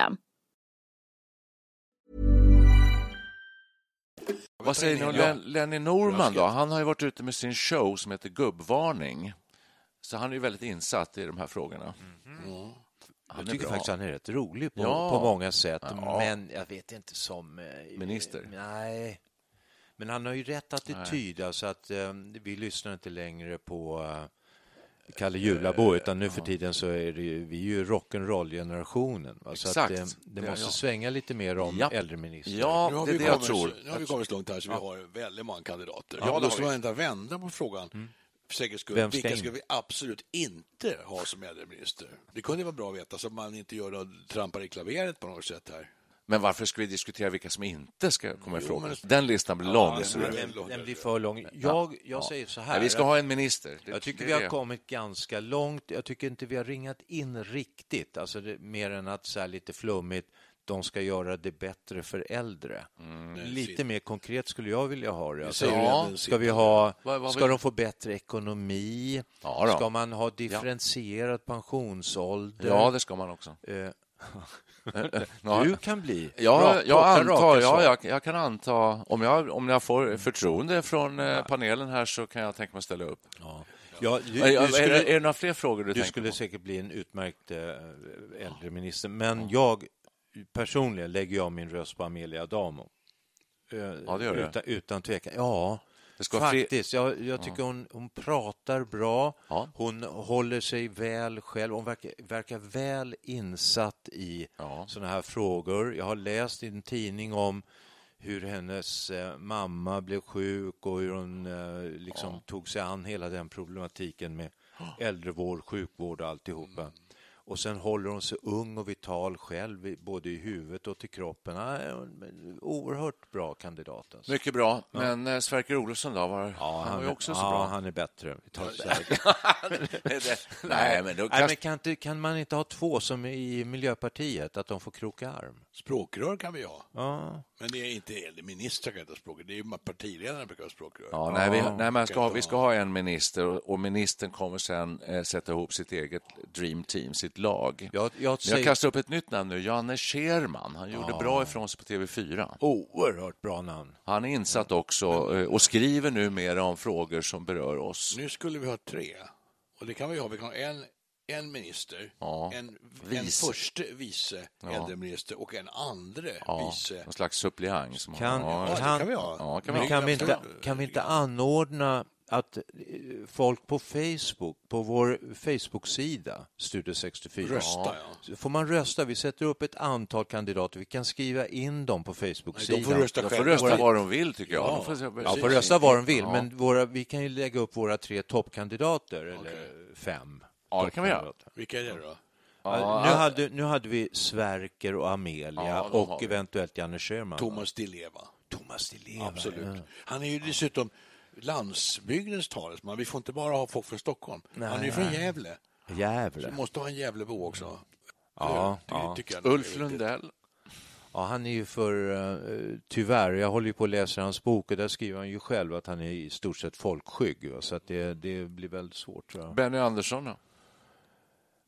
S3: Vad säger ni om Len- Lenny Norman då? Han har ju varit ute med sin show som heter Gubbvarning. Så han är ju väldigt insatt i de här frågorna.
S5: Mhm. Jag
S3: Han är
S5: tycker
S3: bra.
S5: faktiskt han är rätt rolig på,
S3: Ja.
S5: på många sätt,
S3: Ja.
S5: men jag vet inte som... eh,
S3: Minister.
S5: Nej. Men han har ju rätt attityd, alltså att eh, vi lyssnar inte längre på eh, Kalle Julabo,
S3: Eh,
S5: utan nu för tiden så är det ju, vi är ju rock'n'roll-generationen. va, så
S3: Exakt.
S5: Att, eh, det
S3: Ja,
S5: måste
S3: ja.
S5: svänga lite mer om
S3: Japp.
S5: äldreminister.
S4: Nu
S3: Ja,
S4: har
S3: det är
S4: vi
S3: det jag
S4: kommit-
S3: tror.
S4: Nu har vi kommit så långt här så vi har väldigt många kandidater.
S3: det
S4: Ja,
S3: har
S4: då ska
S3: vi. Mm.
S4: man inte vända på frågan. För säkerhets skull,
S5: Vem ska
S4: vilka
S5: in?
S4: ska vi absolut inte ha som äldreminister? Det kunde vara bra att veta så att man inte gör något, trampar i klaveret på något sätt här.
S3: Men varför ska vi diskutera vilka som inte ska komma i fråga? Den listan blir lång. så det-
S5: Den, den blir för lång. Jag, jag säger så här.
S3: Nej, vi ska ha en minister. Det-
S5: Jag tycker
S3: det är
S5: vi har
S3: det.
S5: kommit ganska långt. Jag tycker inte vi har ringat in riktigt, alltså det, mer än att så här lite flummigt, de ska göra det bättre för äldre.
S3: Mm,
S5: Lite mer konkret skulle jag vilja ha det. Alltså,
S4: säger du
S5: ja,
S4: även
S5: ska vi ha,
S3: Vad- vad
S5: ska
S3: vill-
S5: de få bättre ekonomi?
S3: Ja då.
S5: Ska man ha differentierad pensionsålder?
S3: Ja, det ska man också.
S5: Eh,
S3: Ja.
S5: Du kan bli
S3: Ja,
S5: Rakt-
S3: jag
S5: korta,
S3: antar,
S5: raka
S3: ja,
S5: svar. Mm.
S3: jag, jag kan anta, om jag, om jag får förtroende från eh, panelen här så kan jag tänka mig att ställa upp.
S5: Ja, du,
S3: Är-
S5: du
S3: är,
S5: skulle-
S3: det, är det några fler frågor du,
S5: Du
S3: tänker
S5: skulle
S3: på?
S5: säkert bli en utmärkt eh, äldreminister, men jag personligen lägger jag min röst på Amelia Adamo. Eh,
S3: Ja, det gör du.
S5: utan, utan tvekan. Ja,
S3: Det ska vara fri-
S5: faktiskt. Jag, jag tycker hon, hon pratar bra.
S3: Ja.
S5: Hon håller sig väl själv. Hon verkar, verkar väl insatt i
S3: Ja.
S5: sådana här frågor. Jag har läst i en tidning om hur hennes eh, mamma blev sjuk och hur hon eh, liksom tog sig an hela den problematiken med äldrevård, sjukvård och alltihopa.
S3: Mm.
S5: Och sen håller hon sig ung och vital själv, i- både i huvudet och till kroppen. Nej, hon är en oerhört bra kandidat. Alltså.
S3: Mycket bra. Men eh, Sverker Olofsson då? Var, han, var ju
S5: är-
S3: också så
S5: ja,
S3: bra.
S5: han är bättre. Vi tar Sverker.
S3: Nej, men då
S5: Nej, men
S3: kast...
S5: kan, inte, kan man inte ha två som i Miljöpartiet, att de får kroka arm?
S4: Språkrör kan vi ha,
S5: Ja.
S4: men det är inte äldreministrar kan inte ha språkrör. Det är ju partiledarna brukar ha språkrör.
S3: Ja, nej, vi, nej, men ska, ha- vi ska ha en minister och, och ministern kommer sen eh, sätta ihop sitt eget dream team, sitt lag.
S5: Jag, jag,
S3: Men jag
S5: säger
S3: kastar upp ett nytt namn nu, Janne Scherman. Han gjorde bra ifrån sig på TV4.
S5: oerhört bra namn.
S3: Han är insatt också eh, och skriver nu mer om frågor som berör oss.
S4: Nu skulle vi ha tre, och det kan vi ha. Vi kan ha en, en minister,
S3: Ja.
S4: en, en
S3: Vice.
S4: förste vice äldreminister och en andre
S3: Ja,
S4: vice.
S3: någon slags suppleant. Som
S5: Kan,
S3: ja,
S4: det
S5: kan,
S4: kan vi ha.
S3: Ja, kan vi
S5: men
S3: ha.
S5: kan, vi inte,
S4: Absolut.
S5: kan vi inte anordna att eh, folk på Facebook, på vår Facebook-sida, Studio 64,
S4: Rösta, ja.
S5: så får man rösta. Vi sätter upp ett antal kandidater. Vi kan skriva in dem på Facebook-sidan.
S4: De får rösta
S3: De
S4: själva.
S3: får rösta
S4: Våra-
S3: vad de vill, tycker jag.
S4: Ja.
S3: De får,
S5: Ja,
S4: Precis.
S5: får rösta vad de vill, men våra, vi kan ju lägga upp våra tre toppkandidater, eller fem.
S3: Ja, det kan vi göra.
S5: toppkandidater.
S4: Vilka är det då?
S5: Ja, Alltså, nu, hade, nu hade vi Sverker och Amelia
S3: Ja, de har
S5: och
S3: vi.
S5: eventuellt Janne Sjöman.
S4: Thomas Di Leva.
S5: Thomas Di Leva.
S4: Absolut. Han är ju dessutom landsbygdens talesman. Vi får inte bara ha folk från Stockholm. Han är ju från Gävle.
S5: Ja.
S4: Vi
S5: Jävlar.
S4: måste ha en Gävlebo också.
S5: Ja,
S4: Det
S5: ja.
S4: tycker jag
S3: Ulf Lundell.
S5: Ja, han är ju för, eh, tyvärr, jag håller ju på att läsa hans bok och där skriver han ju själv att han är i stort sett folkskygg. va, Så att det, det blir väldigt svårt tror jag.
S3: Benny Andersson då?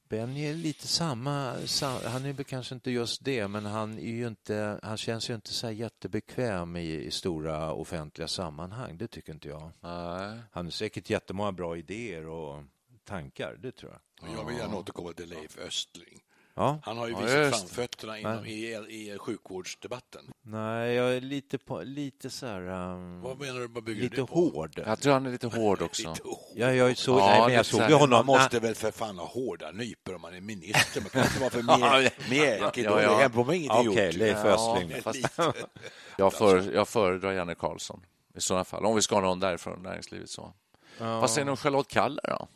S5: Benny är lite samma, sa- han är väl kanske inte just det, men han, är ju inte, han känns ju inte så här jättebekväm i, i stora offentliga sammanhang, det tycker inte jag.
S3: Nej.
S5: Han har säkert jättemånga bra idéer och tankar, det tror jag.
S4: Och Jag vill gärna återkomma till Leif Östling.
S5: Ja.
S4: Han har ju
S3: Ja,
S4: visat
S3: just.
S4: framfötterna inom, i, i sjukvårdsdebatten.
S5: Nej, jag är lite, på, lite så här... ehm,
S4: Vad
S3: Mm.
S4: menar du? Vad bygger
S5: lite
S4: du det på?
S5: hård.
S3: Jag tror han är lite hård också.
S4: Lite hård.
S5: Ja, jag såg,
S3: Ja,
S5: nej, men
S3: det är
S5: jag såg
S3: så
S5: ju
S3: här,
S5: honom.
S4: Man måste
S5: Nej,
S4: väl för fan ha hårda nypor om man är minister? Man kan inte vara för mer, mer
S3: ja,
S4: enkel.
S3: ja, ja.
S4: Det är på mig inte
S5: Okej,
S4: gjort.
S5: Leif Östling.
S4: Lite.
S3: Jag, för, jag föredrar Janne Karlsson i sådana fall, om vi ska ha någon därifrån näringslivet. så. Vad säger ni om Charlotte Kalla då?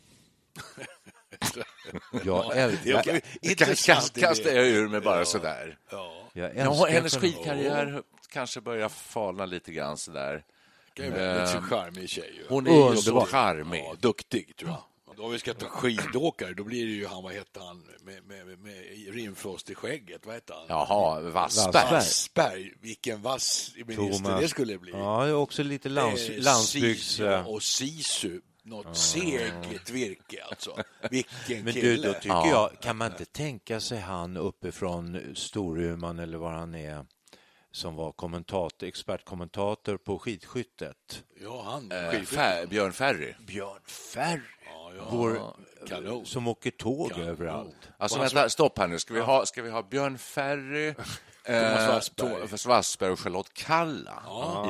S5: Jag
S4: Det är
S5: älskar,
S4: okej.
S3: Kast,
S4: Intressant
S3: kastar
S4: idé.
S3: jag ur mig bara sådär.
S4: Ja,
S5: jag
S3: Ja,
S5: älskar
S3: hennes
S5: för-
S3: skidkarriär kanske börjar falna lite grann sådär.
S4: det är väldigt så charmig tjej. ju.
S3: Hon är ju så
S5: Underbar.
S3: charmig.
S4: Ja, duktig, tror jag. Då om vi ska ta skidåkare, då blir det ju han, vad hette han, med, med, med, med rimfrost i skägget, vad hette han?
S3: Jaha,
S5: Wassberg.
S3: Wassberg.
S4: Asperg, vilken vass minister
S5: Thomas.
S4: det skulle bli.
S5: Ja, jag är också lite lands,
S4: Eh,
S5: landsbygds...
S4: Sisu Och Sisu, något segligt virke alltså. Vilken
S5: Men
S4: kille.
S5: du, då tycker jag, kan man inte tänka sig han uppifrån Storuman eller var han är, som var kommentator, expertkommentator på skidskyttet?
S4: Ja, han.
S3: Eh,
S4: skidskytte.
S3: Fär, Björn Ferry.
S5: Björn Ferry,
S4: Ja, ja.
S5: vår,
S4: Kanon.
S5: som åker tåg
S4: Kanon.
S5: överallt.
S3: Alltså, vänta, stopp här nu. Ska vi ha, ska vi ha Björn Ferry, eh,
S4: Wassberg.
S3: Thomas Wassberg och Charlotte Kalla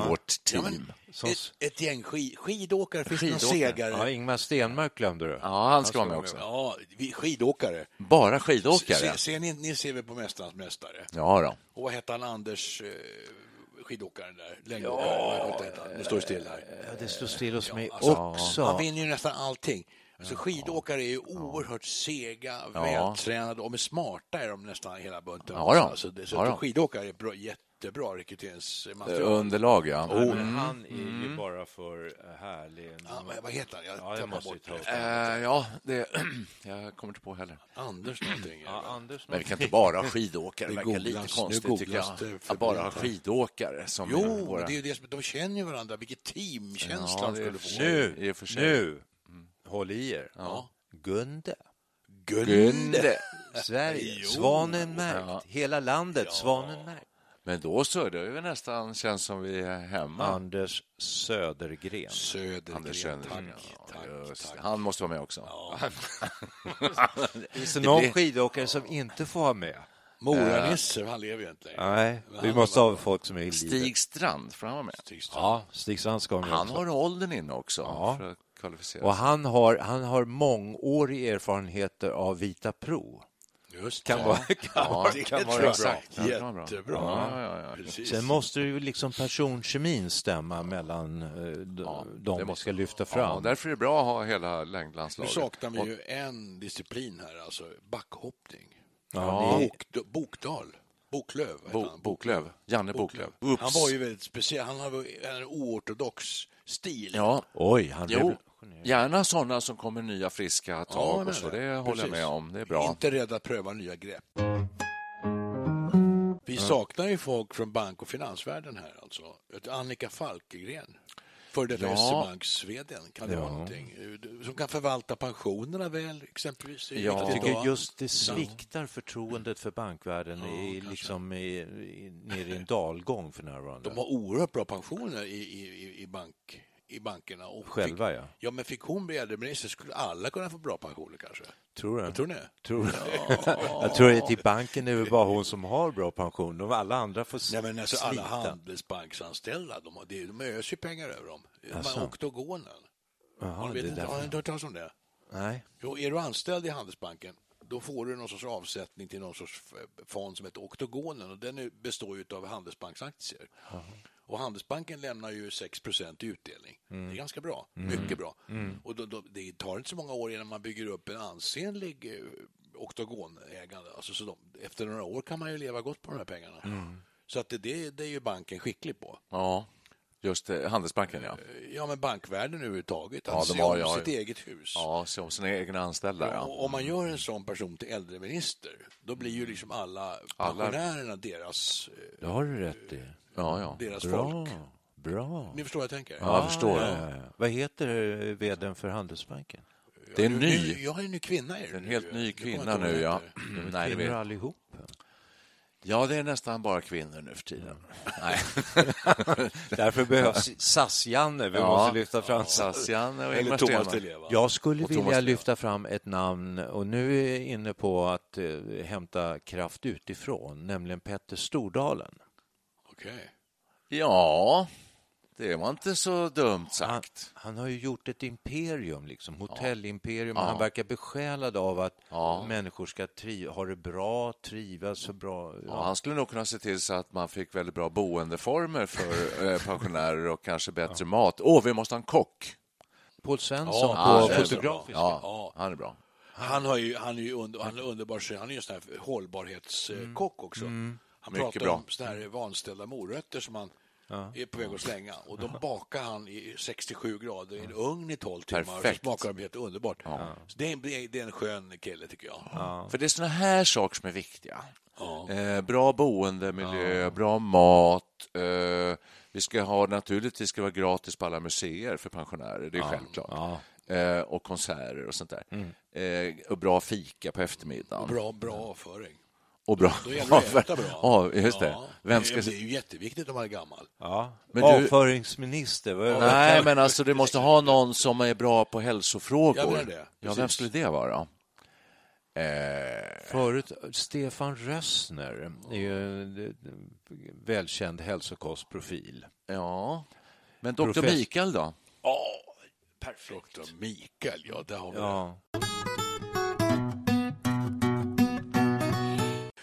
S3: i vårt team? Ja,
S5: Som,
S4: Ett, ett gäng skid, skidåkare, finns det någon
S3: Skidåkare.
S4: segare?
S5: ja, Ingmar Stenmark glömde du.
S3: han ska vara med också.
S4: Ja, vi, skidåkare.
S3: Bara skidåkare?
S4: Se, ser ni, ni ser väl på Mästarnas mästare?
S3: Ja, då.
S4: Och vad hette han, Anders, eh, skidåkaren där? Längdåkaren? vad vad hette han? Nu står det still här. alltså,
S5: eh, Ja, alltså, det står still hos mig
S4: Han
S5: också.
S4: vinner ju nästan allting. Alltså skidåkare är ju oerhört sega, vältränade och med smarta är de nästan hela bunten.
S3: Ja, då.
S4: Alltså, det, så
S3: Ja, då.
S4: skidåkare är bra, jättebra
S5: Eh,
S4: rekryteringsmaterial.
S3: Underlag, ja.
S4: Oh,
S5: Men han är ju
S3: Mm.
S5: bara för eh, härlig.
S4: Ja, vad- vad heter han? Jag
S5: Ja, jag
S4: tappar
S5: måste ju
S4: bort
S5: ta upp
S4: det.
S3: Eh, ja, det, jag kommer inte på heller.
S4: Anders någonting.
S5: Ja, Anders
S3: Men vi kan inte bara ha skidåkare. Det
S4: Det
S3: verkar lite
S4: googlas, nu
S3: konstigt, tycker jag.
S4: googlas det
S3: Att bara ha
S4: febrilt.
S3: skidåkare som är
S4: Jo,
S3: våra...
S4: men det är ju det som, de känner ju varandra. Vilket teamkänsla
S3: Ja,
S4: de
S3: det är
S4: skulle
S3: för
S4: få.
S3: sig.
S5: Nu,
S3: I och för sig. Mm.
S5: nu, håll i er. Gunde.
S3: Gunde.
S5: Sverige, svanen märkt. Hela landet, svanen märkt.
S3: Men då så, då är vi nästan, känns som vi är hemma.
S5: Anders Södergren.
S4: Södergren,
S3: Anders
S4: tack,
S5: Mm.
S3: Södergren.
S4: tack,
S3: Just,
S4: tack.
S3: Han måste vara med också.
S5: Finns det någon skidåkare som inte får vara med?
S4: Mora-Nisse, han lever ju inte längre.
S5: Eh. Nej, vi måste ha folk som är i livet.
S3: Stig Strand, får han vara med?
S5: Ja, Stig Strand ska vara med
S3: Han
S5: också.
S3: har åldern inne också för att
S5: Och
S3: kvalificera sig.
S5: han har, han har mångårig erfarenheter av Vita Pro.
S4: Just
S5: Kan
S4: det.
S5: vara, kan vara,
S4: det
S5: kan
S4: tror
S5: vara
S4: jag.
S5: bra.
S3: Ja, det var bra.
S4: Jättebra.
S3: Ja, ja, ja.
S4: Precis.
S5: Sen måste ju liksom personkemin stämma mellan eh, d- de vi ska lyfta
S3: Ja,
S5: fram.
S3: därför är det bra att ha hela
S4: Nu
S3: längdlandslaget.
S4: saknar vi
S3: Och-
S4: ju en disciplin här, alltså backhoppning.
S5: Ja, ni-
S4: Bok, Bokdal, Boklöv. vad heter
S3: Bo,
S4: han?
S3: Boklöv, Janne Boklöv. Oops.
S4: Han var ju väldigt speciell, han hade ju en oortodox stil.
S3: Ja,
S5: Oj, han
S3: jo.
S5: blev...
S3: Gärna sådana som kommer nya friska tag
S4: men-
S3: och så. Det håller jag
S4: precis.
S3: med om. Det är bra.
S4: Inte rädd att pröva nya grepp. Vi saknar ju folk från bank och finansvärlden här alltså. Ett Annika Falkegren, före detta
S3: Ja.
S4: SE-banksveden, kan det vara någonting. Eh, Som kan förvalta pensionerna väl, exempelvis. Det är
S3: Ja.
S5: Jag
S4: viktigt
S5: tycker
S4: att-
S5: just det sviktar förtroendet för bankvärlden i, liksom i, i, nere i en dalgång för närvarande.
S4: De har oerhört bra pensioner i, i, i- i, bank, i bankerna. Och
S5: Själva,
S4: fick,
S5: ja.
S4: Ja, men fick hon bli äldreminister skulle alla kunna få bra pensioner kanske.
S5: Tror du?
S4: Tror ni?
S5: Tror jag tror att i banken är det bara hon som har bra pension. De alla andra får s-
S4: Nej, men alltså, alla
S5: slita.
S4: handelsbanksanställda, de, har- det- de öser ju pengar över dem. Man, oktogonen.
S5: Jaha,
S4: Har
S5: det
S4: du
S5: är
S4: inte- har
S5: därför.
S4: du inte hört talas om det?
S5: Nej.
S4: Jo, är du anställd i Handelsbanken, då får du någon sorts avsättning till någon sorts f- fond som heter Oktogonen och den är- består ju av Handelsbanksaktier. Och Handelsbanken lämnar ju 6 i utdelning.
S3: Mm.
S4: Det är ganska bra, mycket bra. Och då, då, det tar inte så många år innan man bygger upp en ansenlig eh, oktogonägande. Alltså, så de, efter några år kan man ju leva gott på de här pengarna.
S3: Mm.
S4: Så att det, det, det är ju banken skicklig på. Eh,
S3: Ja, just det. Handelsbanken, ja.
S4: Ja, men bankvärlden överhuvudtaget, att
S3: Ja, de
S4: se
S3: har
S4: om
S3: ju-
S4: sitt eget hus.
S3: Ja, se om sina egna anställda.
S4: Och
S3: Ja.
S4: om man gör en sån person till äldreminister, då blir ju liksom alla
S3: Alla-
S4: pensionärerna deras, eh,
S5: Det har du rätt i.
S3: Ja, ja.
S4: deras
S5: Bra.
S4: folk.
S5: Bra.
S4: Ni förstår vad jag tänker?
S3: Ja, jag förstår.
S5: Ah, Ja, ja. Vad heter eh, vdn för Handelsbanken?
S3: Det är en
S4: Nu,
S3: ny.
S4: jag är en ny kvinna. Är det
S3: En
S4: nu,
S3: helt
S4: ju.
S3: ny
S4: Det kommer
S3: kvinna
S4: jag inte
S3: nu,
S4: ihåg
S3: ja.
S4: vad hon heter.
S3: Nej, det
S5: Kvinnor
S3: vet.
S5: allihop.
S3: Ja, det är nästan bara kvinnor nu för tiden.
S4: Mm.
S3: Nej.
S5: Därför behövs SAS-Janne. Vi
S3: Ja.
S5: måste lyfta fram SAS.
S3: Sassian och
S4: Eller
S3: Ingmar
S4: Thomas
S3: Stenmark.
S4: Di Leva.
S5: Jag skulle
S3: Och Thomas
S5: vilja
S3: Leo.
S5: lyfta fram ett namn och nu är jag inne på att eh, hämta kraft utifrån, nämligen Petter Stordalen.
S4: Okej.
S3: Ja, det var inte så
S4: Ah.
S3: dumt
S5: Han,
S3: sagt.
S5: han har ju gjort ett imperium, liksom, hotellimperium. och Han verkar besjälad av att människor ska tri- ha det bra, trivas så bra.
S3: Ja, han skulle nog kunna se till så att man fick väldigt bra boendeformer för eh, pensionärer och kanske bättre mat. Åh, vi måste ha en kock.
S5: Paul Svensson
S3: han
S5: på
S3: är så bra.
S5: Fotografiska.
S3: Ja, han är bra.
S4: Han, har ju, han är ju under, han är underbar, så han är ju en sån här hållbarhetskock också.
S3: Mm.
S4: Han
S3: Mycket
S4: pratar
S3: bra.
S4: om såna här vanställda morötter som han är på väg att slänga. Och de bakar han i 67 grader i en ugn i 12 timmar. Och så
S3: Perfekt.
S4: smakar de helt underbart. Så det, är, det är- det är en skön kille tycker jag.
S3: För det är såna här saker som är viktiga. Eh, bra boendemiljö, bra mat. Eh, vi ska ha, naturligtvis ska det vara gratis på alla museer för pensionärer, det är självklart. Eh, och konserter och sånt där. Eh, och bra fika på eftermiddagen.
S4: Mm. Bra, bra avföring.
S3: Och bra.
S4: Då gäller det att äta bra.
S3: Ja, just det. Vem ska...
S4: det, det är ju jätteviktigt om man är gammal.
S5: Ja.
S3: Men du-
S5: Avföringsminister. vad är det?
S3: Nej, men alltså du måste ha någon som är bra på
S4: Jag
S3: hälsofrågor.
S4: menar det.
S3: Ja, vem
S4: Precis.
S3: skulle det vara? Eh,
S5: Förut, Stefan Rössner är ju en välkänd hälsokostprofil.
S3: ja, men doktor
S5: Profess-
S3: Mikael då?
S4: Perfekt. Dr. Mikael, ja, där har vi det.
S5: Ja.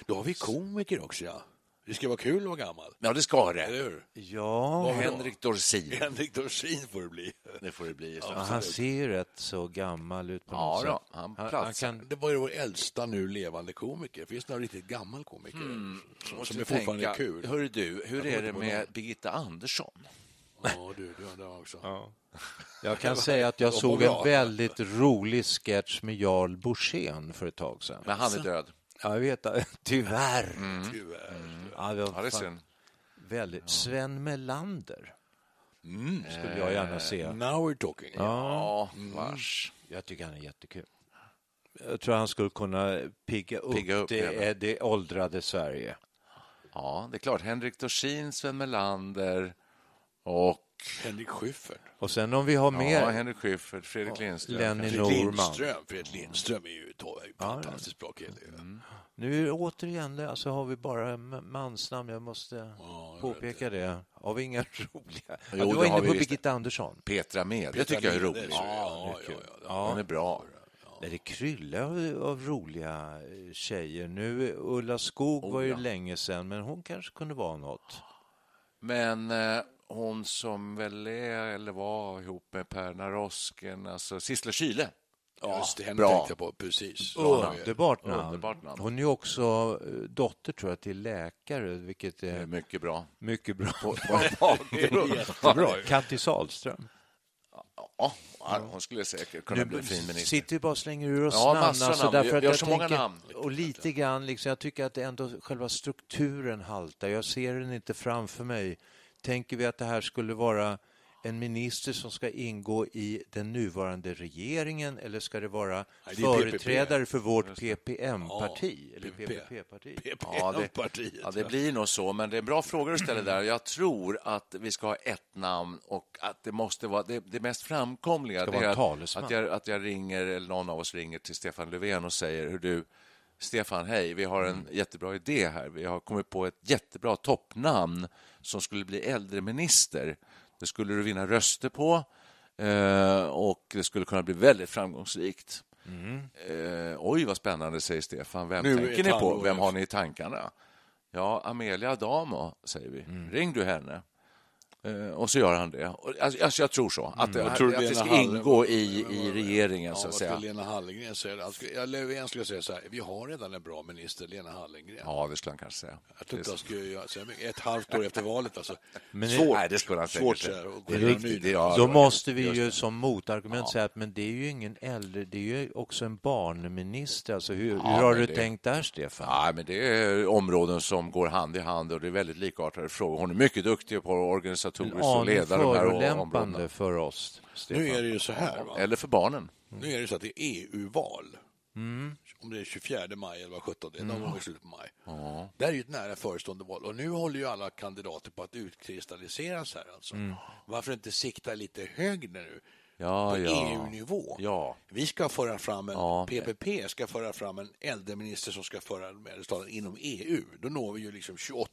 S4: Då har vi komiker också, ja. Det ska vara kul att vara gammal,
S3: Ja, det ska det.
S4: eller hur?
S5: Ja,
S4: Vad-
S3: Henrik Dorsin.
S4: Henrik Dorsin får det bli.
S3: Det får det bli.
S5: Ja, han ser ju rätt så gammal ut på
S3: Ja,
S5: något
S3: då,
S5: sätt.
S3: han
S5: han
S3: platsar.
S5: kan,
S4: Det var ju vår äldsta nu levande komiker. Finns det någon riktigt gammal komiker
S3: Mm.
S4: som, som är fortfarande är kul?
S3: Hör du, hur är
S4: kommer
S3: det
S4: inte på
S3: med Birgitta Andersson?
S4: Ja, du, du undrar också.
S5: jag kan säga att jag
S4: De
S5: såg
S4: var bra.
S5: en väldigt rolig sketch med Jarl Borssén för ett tag sedan.
S3: Men han är död.
S5: Ja, Jag vet, tyvärr.
S4: Tyvärr.
S5: Ja, det
S3: Mm. Ja,
S5: var
S3: det är
S5: fan
S3: synd.
S5: väldigt. Sven Melander skulle jag gärna se.
S4: Now we're talking.
S3: Mm. Eh, Ja, Mm. vars.
S5: Jag tycker han är jättekul. Jag tror han skulle kunna pigga upp,
S3: Pigga upp igen.
S5: det, det åldrade Sverige.
S3: Ja, det är klart. Henrik Dorsin, Sven Melander och
S4: Henrik Schyffert.
S5: Och sen om vi har mer
S3: ja, Henrik Schyffert, Fredrik Lindström.
S5: Lenny
S4: Fredrik
S5: Norman.
S4: Lindström. Fredrik Lindström är ju to- är ju fantastiskt bra kille. ju.
S3: Mm.
S5: Nu är det återigen, det, alltså har vi bara m- mansnamn, jag måste påpeka det. Har vi inga roliga? Ja,
S3: det
S5: du var
S3: har
S5: inne
S3: vi
S5: på
S3: visst.
S5: Birgitta Andersson.
S3: Petra Med, det tycker jag är
S4: Det
S3: roligt.
S4: tror jag. Ja, ja, ja, ja.
S3: Hon är bra.
S5: Där det kryllar av, av roliga eh, tjejer. Nu, Ulla Skog
S3: Oh,
S5: var ju länge sedan, men hon kanske kunde vara något.
S3: Men eh, hon som väl är eller var ihop med Per Narosken, alltså Sissela Kyle.
S4: Ja, Just det, henne
S3: bra.
S4: tänkte jag på. Precis.
S5: Underbart namn.
S3: Underbart namn.
S5: Hon är ju också eh, dotter, tror jag, till läkare, vilket
S3: Det är
S5: är
S3: Mycket bra.
S5: mycket bra.
S4: Jättebra.
S5: Kattis Sahlström.
S3: Ja, hon skulle säkert kunna bli fin minister.
S5: sitter vi bara och slänger ur oss
S3: Ja,
S5: namn. alltså,
S3: massa namn.
S5: därför
S3: Vi
S5: att
S3: har
S5: jag
S3: så många
S5: tänker-
S3: namn.
S5: Och lite grann, liksom, jag tycker att det ändå själva strukturen haltar. Jag ser den inte framför mig. Tänker vi att det här skulle vara en minister som ska ingå i den nuvarande regeringen eller ska det vara
S4: det är
S5: företrädare för vårt PPM-parti? eller
S4: PP.
S5: PPP-parti?
S3: Ja det,
S4: partiet.
S3: ja, det blir nog så, men det är en bra fråga du ställer där. Jag tror att vi ska ha ett namn och att det måste vara det, det mest framkomliga. Det
S5: Ska vara en
S3: är att,
S5: talesman.
S3: att, jag, att jag ringer, eller någon av oss ringer till Stefan Löfven och säger hur du Stefan, hej, vi har
S5: Mm.
S3: en jättebra idé här. Vi har kommit på ett jättebra toppnamn som skulle bli äldreminister. Det skulle du vinna röster på eh, och det skulle kunna bli väldigt framgångsrikt.
S5: Mm.
S3: Eh, oj, vad spännande, säger Stefan. Vem
S4: Nu är
S3: tänker ni på?
S4: tandvården.
S3: Vem har ni i tankarna? Ja, Amelia Adamo, säger vi.
S4: Mm.
S3: Ring du henne. Eh, och så gör han det. Och, alltså, alltså, jag tror så. Att, det,
S4: Jag Mm. tror
S3: att det
S4: Lena
S3: ska
S4: Hallengren-
S3: ingå i, i regeringen, så
S4: Ja,
S3: att
S4: vad
S3: säga.
S4: skulle Lena Hallengren säga? Han skulle- ja, Löfven skulle säga så här, vi har redan en bra minister, Lena Hallengren.
S3: Ja, det skulle han kanske säga.
S4: Jag tror inte jag skulle göra så här mycket. Ett halvt år efter valet alltså.
S5: Men
S4: svårt,
S3: Nej, det skulle han
S4: svårt
S3: säkert
S4: så
S3: säga.
S4: här. att gå
S3: Det är
S4: in och
S3: riktigt,
S4: ny-
S3: det är-
S5: Då måste vi ju som motargument säga att men det är ju ingen äldre, det är ju också en barnminister. Alltså, hur, hur har
S3: men
S5: du
S3: det-
S5: tänkt där, Stefan?
S3: Nej, men det är områden som går hand i hand och det är väldigt likartade frågor. Hon är mycket duktig på organisatoriskt och
S5: aning
S3: leda de här områdena.
S5: förolämpande för oss.
S4: Nu är det ju så här. Va?
S3: Eller för barnen.
S4: Nu är det så att det är EU-val.
S3: Mm.
S4: Om det är 24 maj eller vad 17 det är, någon gång i slutet på maj. Det här är ju ett nära förestående val och nu håller ju alla kandidater på att utkristalliseras här alltså. Varför inte sikta lite högre nu?
S3: Mm. Ja,
S4: på
S3: ja.
S4: EU-nivå.
S3: Ja.
S4: Vi ska föra fram en,
S3: Ja.
S4: PPP ska föra fram en äldreminister som ska föra äldrestaten inom EU. Då når vi ju liksom 28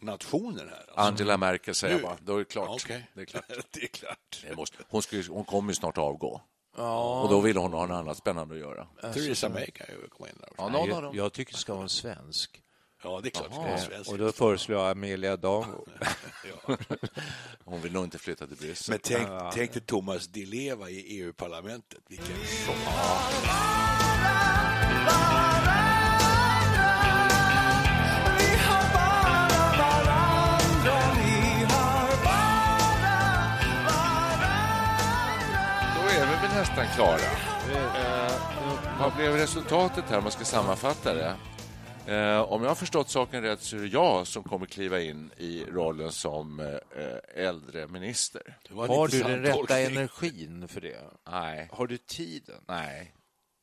S4: nationer här. Alltså.
S3: Angela Merkel säger
S4: Nu.
S3: jag bara, då är Mm. det klart.
S4: Ja, okej.
S3: Det är klart.
S4: det är klart.
S3: Det måste, hon, skulle, hon kommer ju snart avgå. Och då vill hon ha något annat spännande att göra.
S4: Theresa May kan ju komma in där också.
S3: Alltså, Ja,
S4: Ja,
S3: någon av
S5: Jag,
S3: dem.
S5: jag tycker det ska vara en svensk.
S4: det är klart. det ska vara svensk.
S5: Och då föreslår jag Amelia Dam.
S4: Ja.
S3: Hon vill nog inte flytta till Bryssel.
S4: Men tänk, tänk dig Thomas Di Leva i EU-parlamentet. Vilken chock.
S3: Då är vi väl nästan klara. Eh, vad blev resultatet här om man ska sammanfatta det? Eh, om jag har förstått saken rätt så är det jag som kommer kliva in i rollen som eh, äldreminister.
S4: Det var en
S5: Har du
S4: intressant
S5: den rätta
S4: tolkning.
S5: energin för det?
S3: Nej.
S5: Har du tiden?
S3: Nej.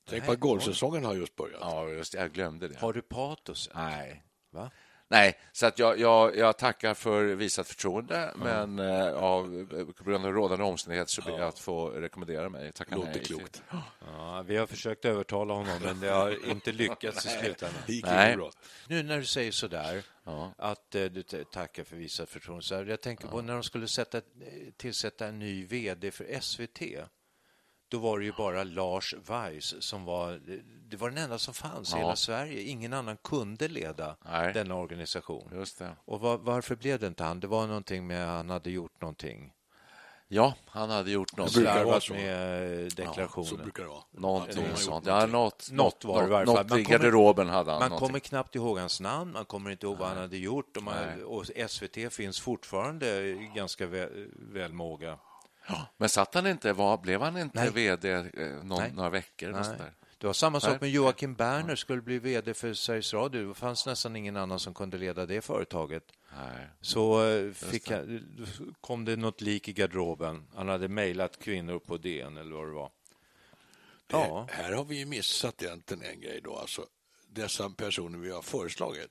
S4: Tänk på att golfsäsongen har just börjat.
S3: Ja, just det. Jag glömde det.
S5: Har du patos?
S3: Nej.
S5: Va?
S3: Nej, så att jag, jag, jag tackar för visat förtroende, men eh, av, på grund av rådande omständigheter så ber jag att få rekommendera mig. Tacka
S4: Låter
S3: nej. till-
S4: klokt.
S5: Ja, vi har försökt övertala honom, men det har inte lyckats i slutändan.
S4: Det gick
S3: Nej.
S4: ju bra.
S5: Nu när du säger sådär, att eh, du t- tackar för visat förtroende. Så här, jag tänker på när de skulle sätta, eh, tillsätta en ny vd för SVT. Då var det ju bara Lars Weiss som var, eh, det var den enda som fanns i hela Sverige. Ingen annan kunde leda
S3: Nej.
S5: denna organisation.
S3: Just det.
S5: Och var, varför blev det inte han? Det var någonting med, han hade gjort någonting.
S3: Ja, han hade gjort något.
S4: Det brukar vara
S5: Slarvat
S4: så.
S5: med eh, deklarationer.
S4: Så brukar det vara.
S3: Någonting
S4: Ja, de har
S3: sånt.
S4: gjort
S3: Ja,
S4: någonting.
S3: något,
S5: Något var det i varje fall.
S3: något
S5: Man
S3: i
S5: kommer-
S3: garderoben hade han.
S5: Man
S3: någonting.
S5: kommer knappt ihåg hans namn, man kommer inte ihåg vad han hade gjort och, man,
S3: Nej.
S5: och SVT finns fortfarande ganska väl, välmåga.
S3: Men satt han inte, var, blev han inte
S5: Nej.
S3: vd eh, någon,
S5: Nej.
S3: några veckor? eller
S5: Nej.
S3: sånt där?
S5: Det var samma
S3: Nej.
S5: sak med Joakim Berner, skulle bli vd för Sveriges Radio. Det fanns nästan ingen annan som kunde leda det företaget.
S3: Nej.
S5: Så eh, fick jag, kom det något lik i garderoben. Han hade mejlat kvinnor på DN eller vad det var.
S4: Det,
S5: Ja,
S4: Eh, här har vi ju missat egentligen en grej då, alltså dessa personer vi har föreslagit.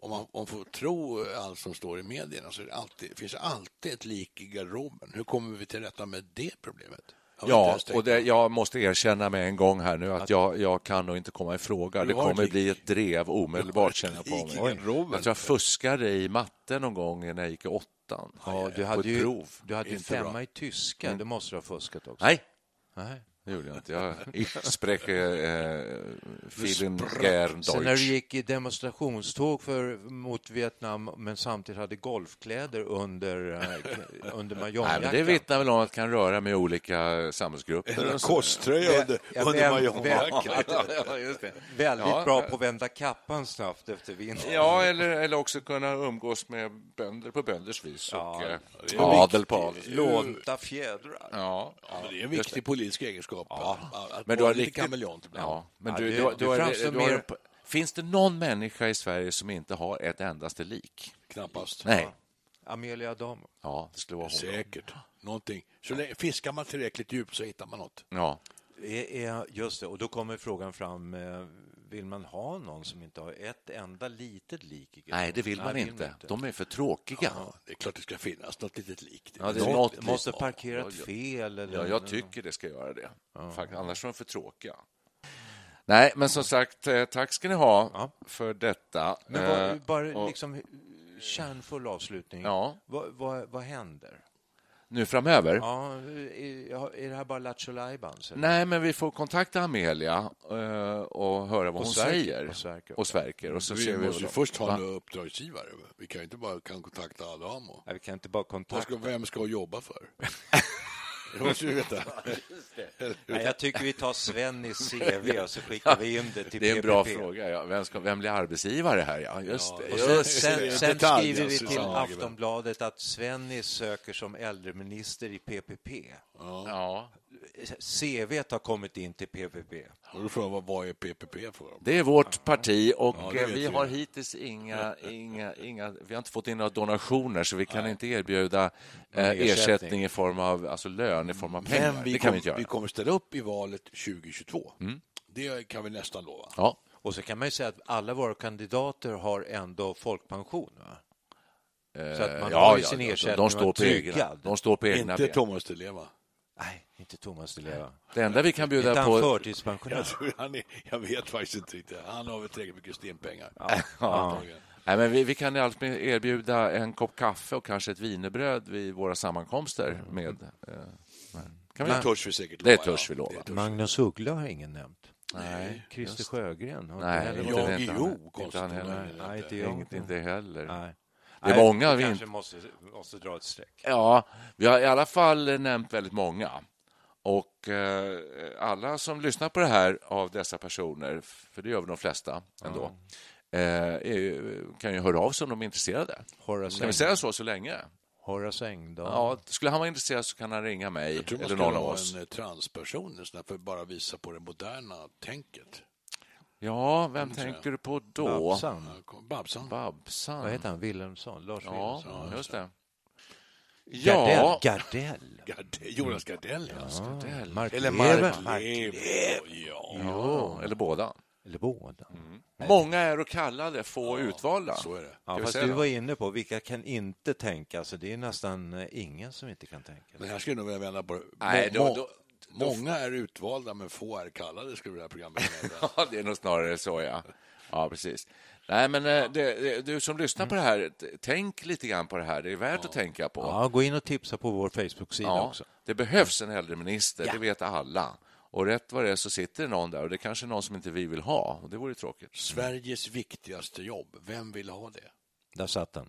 S4: Om man, om man får tro allt som står i medierna så är det alltid, finns det alltid ett lik i garderoben. Hur kommer vi till rätta med det problemet? Jag har inte
S3: Ja,
S4: ens tänkt
S3: och det, jag måste erkänna med en gång här nu att jag, jag kan nog inte komma i fråga.
S4: Du
S3: Det
S4: har
S3: kommer
S4: ett
S3: bli
S4: lik.
S3: ett drev omedelbart, känner jag
S4: lik
S3: på
S4: i
S3: mig.
S4: garderoben.
S3: Jag tror jag fuskade i matte någon gång när jag gick i åttan.
S5: ja du
S3: på
S5: hade
S3: ett
S5: ju,
S3: prov. Mm.
S5: du hade ju
S4: Inte bra.
S5: femma i tyska, det måste du ha fuskat också.
S3: Nej,
S5: Nej.
S3: det gjorde jag inte. Jag ich spreche eh, vielen gern
S5: Sen när du
S3: Deutsch.
S5: gick i demonstrationståg för, mot Vietnam men samtidigt hade golfkläder under, eh, under
S3: Nej, men det
S5: majongjackan.
S3: vittnar väl om att kan röra med olika samhällsgrupper.
S4: En
S3: och så.
S4: kosttröja under,
S5: Ja,
S4: under
S5: vem-
S4: majonjackan.
S3: Ja, just det.
S5: Väldigt
S3: Ja.
S5: bra på att vända kappan snabbt efter vinden.
S3: Ja, eller, eller också kunna umgås med bönder på bönders vis och eh,
S4: det är
S3: adel
S4: viktigt.
S3: på adel.
S5: Lånta fjädrar.
S3: Ja,
S4: Ja, men det är en viktig politisk egenskap. att- Att, att
S3: men
S4: men
S3: du har
S4: lite
S3: riktigt-
S4: kameleont ibland.
S3: Ja, men
S5: Ja,
S3: du,
S5: det-
S3: du, har-
S5: det
S3: du, har-
S5: framstår
S3: du har-
S5: mer-
S3: Finns det någon människa i Sverige som inte har ett endaste lik?
S4: Knappast.
S3: Nej.
S5: Amelia Adamo.
S3: Ja, det skulle vara hon.
S4: Säkert. Någonting. Så länge, fiskar man tillräckligt djupt så hittar man något.
S3: Ja.
S5: Är, är, just det, och då kommer frågan fram, eh, vill man ha någon som inte har ett enda litet lik? i
S3: Nej, det
S5: garderoben?
S3: vill man inte. De är för tråkiga.
S4: Ja, det är klart det ska finnas något litet lik.
S3: Ja, det är
S5: Något
S3: något lik.
S5: måste
S3: Ja,
S5: parkerat
S3: ja, ja.
S5: fel eller...
S3: Ja, jag tycker det ska göra det. Fakt, annars är de för tråkiga. Nej, men som sagt, eh, tack ska ni ha
S5: Ja.
S3: för detta.
S5: Men vad,
S3: Eh,
S5: bara
S3: och-
S5: liksom kärnfull avslutning.
S3: Ja.
S5: Vad, vad, vad händer?
S3: Nu framöver?
S5: Ja, är, är det här bara Lattjo Lajbans? eller?
S3: Nej, men vi får kontakta Amelia eh, och höra vad
S5: Och
S3: hon
S5: Sverker.
S3: säger.
S5: Och Sverker.
S3: Och, Sverker. och så ser
S4: Vi
S3: vi
S4: måste ju
S3: vad de-
S4: först ha
S3: Va?
S4: en uppdragsgivare. Vi kan ju inte bara kan kontakta Adamo.
S5: Nej, vi kan inte bara
S4: Vad
S5: kontakta.
S4: Ska, vem ska jobba för? Det måste vi veta.
S5: Nej, jag tycker vi tar Sven i CV och så skickar vi in det till
S3: Det är en
S5: PPP.
S3: bra fråga. Ja. Vem, ska, vem blir arbetsgivare här? Ja, just det.
S5: Och
S3: Just
S5: sen,
S3: det.
S5: sen,
S4: det.
S5: sen
S4: Detalj,
S5: skriver vi
S4: alltså,
S5: till
S4: Sven Hagberg.
S5: Aftonbladet att Svennis söker som äldreminister i PPP.
S3: Ja.
S5: CV har kommit in till PPP.
S4: Och då frågar man, vad är PPP för?
S3: det är vårt parti och
S4: det
S3: eh,
S4: vet
S3: vi
S4: vi.
S3: har hittills inga, inga, inga, vi har inte fått in några donationer så vi kan inte erbjuda eh,
S5: ersättning.
S3: ersättning i form av alltså lön, i form av pengar.
S4: Men vi,
S3: det kan vi
S4: kom,
S3: inte göra.
S4: vi kommer ställa upp i valet 2022. Det kan vi nästan lova.
S3: Ja.
S5: Och så kan man ju säga att alla våra kandidater har ändå folkpension. Va? Så att man
S3: Eh, ja,
S5: har ju
S3: ja,
S5: sin
S3: ja, de-
S5: ersättning
S3: de står
S5: och är
S3: på egna-
S5: tryggad.
S3: de står på egna
S4: Inte
S3: ben.
S4: Thomas Di Leva.
S5: Nej, inte Thomas Di Leva.
S3: Det enda vi kan
S5: Inte
S3: bjuda
S5: han
S3: på...
S4: Jag,
S5: förtidspensionär.
S4: tror han är, jag vet faktiskt inte riktigt. Han har väl tillräckligt mycket stimpengar. Antagligen.
S3: Nej, men vi, vi kan alltså erbjuda en kopp kaffe och kanske ett wienerbröd vid våra sammankomster.
S5: Mm.
S3: Med, eh, men- kan vi
S4: Det törs vi säkert
S3: Det
S4: lova.
S3: törs vi
S4: ja.
S3: lova.
S5: Magnus Uggla har ingen nämnt.
S3: Nej,
S5: Christer Sjögren har
S3: Nej,
S5: heller
S3: inte
S5: varit-
S4: Jag
S3: vet han.
S4: Jo,
S3: Inte han
S4: konstigt
S3: heller.
S4: nog.
S5: Nej, inte jag.
S3: Inget, inte heller.
S5: Nej.
S3: Det är många
S5: Nej,
S3: vi
S5: kanske
S3: inte-
S5: måste, måste dra ett streck.
S3: Ja, vi har i alla fall nämnt väldigt många. Och eh, alla som lyssnar på det här av dessa personer, för det gör väl de flesta ändå, eh, är ju, kan ju höra av sig om de är intresserade.
S5: Horace,
S3: Kan vi
S5: Eng...
S3: säga så så länge?
S5: Horace Engdahl.
S3: Ja, skulle han vara intresserad så kan han ringa mig
S4: Jag tror man
S3: eller
S4: skulle
S3: någon av
S4: vara
S3: oss.
S4: en eh, transperson en sån här, för att bara visa på det moderna tänket.
S3: Ja, vem tänker du på då?
S5: Babsan.
S4: Ja, kom- Babsan.
S3: Babsan.
S5: Vad heter han? Wilhelmsson? Lars
S3: Ja,
S5: Wilhelmsson?
S3: just det.
S5: Gardell.
S3: Ja,
S5: Gardell.
S4: Gardell- Jonas Gardell, ja.
S3: Gardell.
S5: Mark
S4: Eller
S5: Lever.
S4: Mark Lev. Ja,
S3: Ja, eller båda.
S5: Eller båda.
S3: Mm. Många är och kallade, få är utvalda.
S4: så är det.
S5: Ja,
S3: Ska vi
S5: fast
S3: säga
S5: du
S3: då?
S5: var inne på vilka kan inte tänka sig. Det är nästan eh, ingen som inte kan tänka
S4: Det
S5: sig.
S4: här skulle jag nog vilja vända på.
S3: Nej, då-
S4: Må-
S3: då-
S4: många är utvalda, men få är kallade, skulle det här programmet heta.
S3: Ja, det är nog snarare så, ja. Ja, precis. Nej, men eh, det, det, du som lyssnar på det här, t- tänk lite grann på det här. Det är värt att tänka på.
S5: Ja, gå in och tipsa på vår Facebook-sida
S3: Ja,
S5: också.
S3: det behövs en äldreminister, det vet alla. Och rätt vad det är så sitter det någon där och det är kanske är någon som inte vi vill ha. Och det vore ju tråkigt.
S4: Sveriges viktigaste jobb, vem vill ha det?
S5: Där satt den.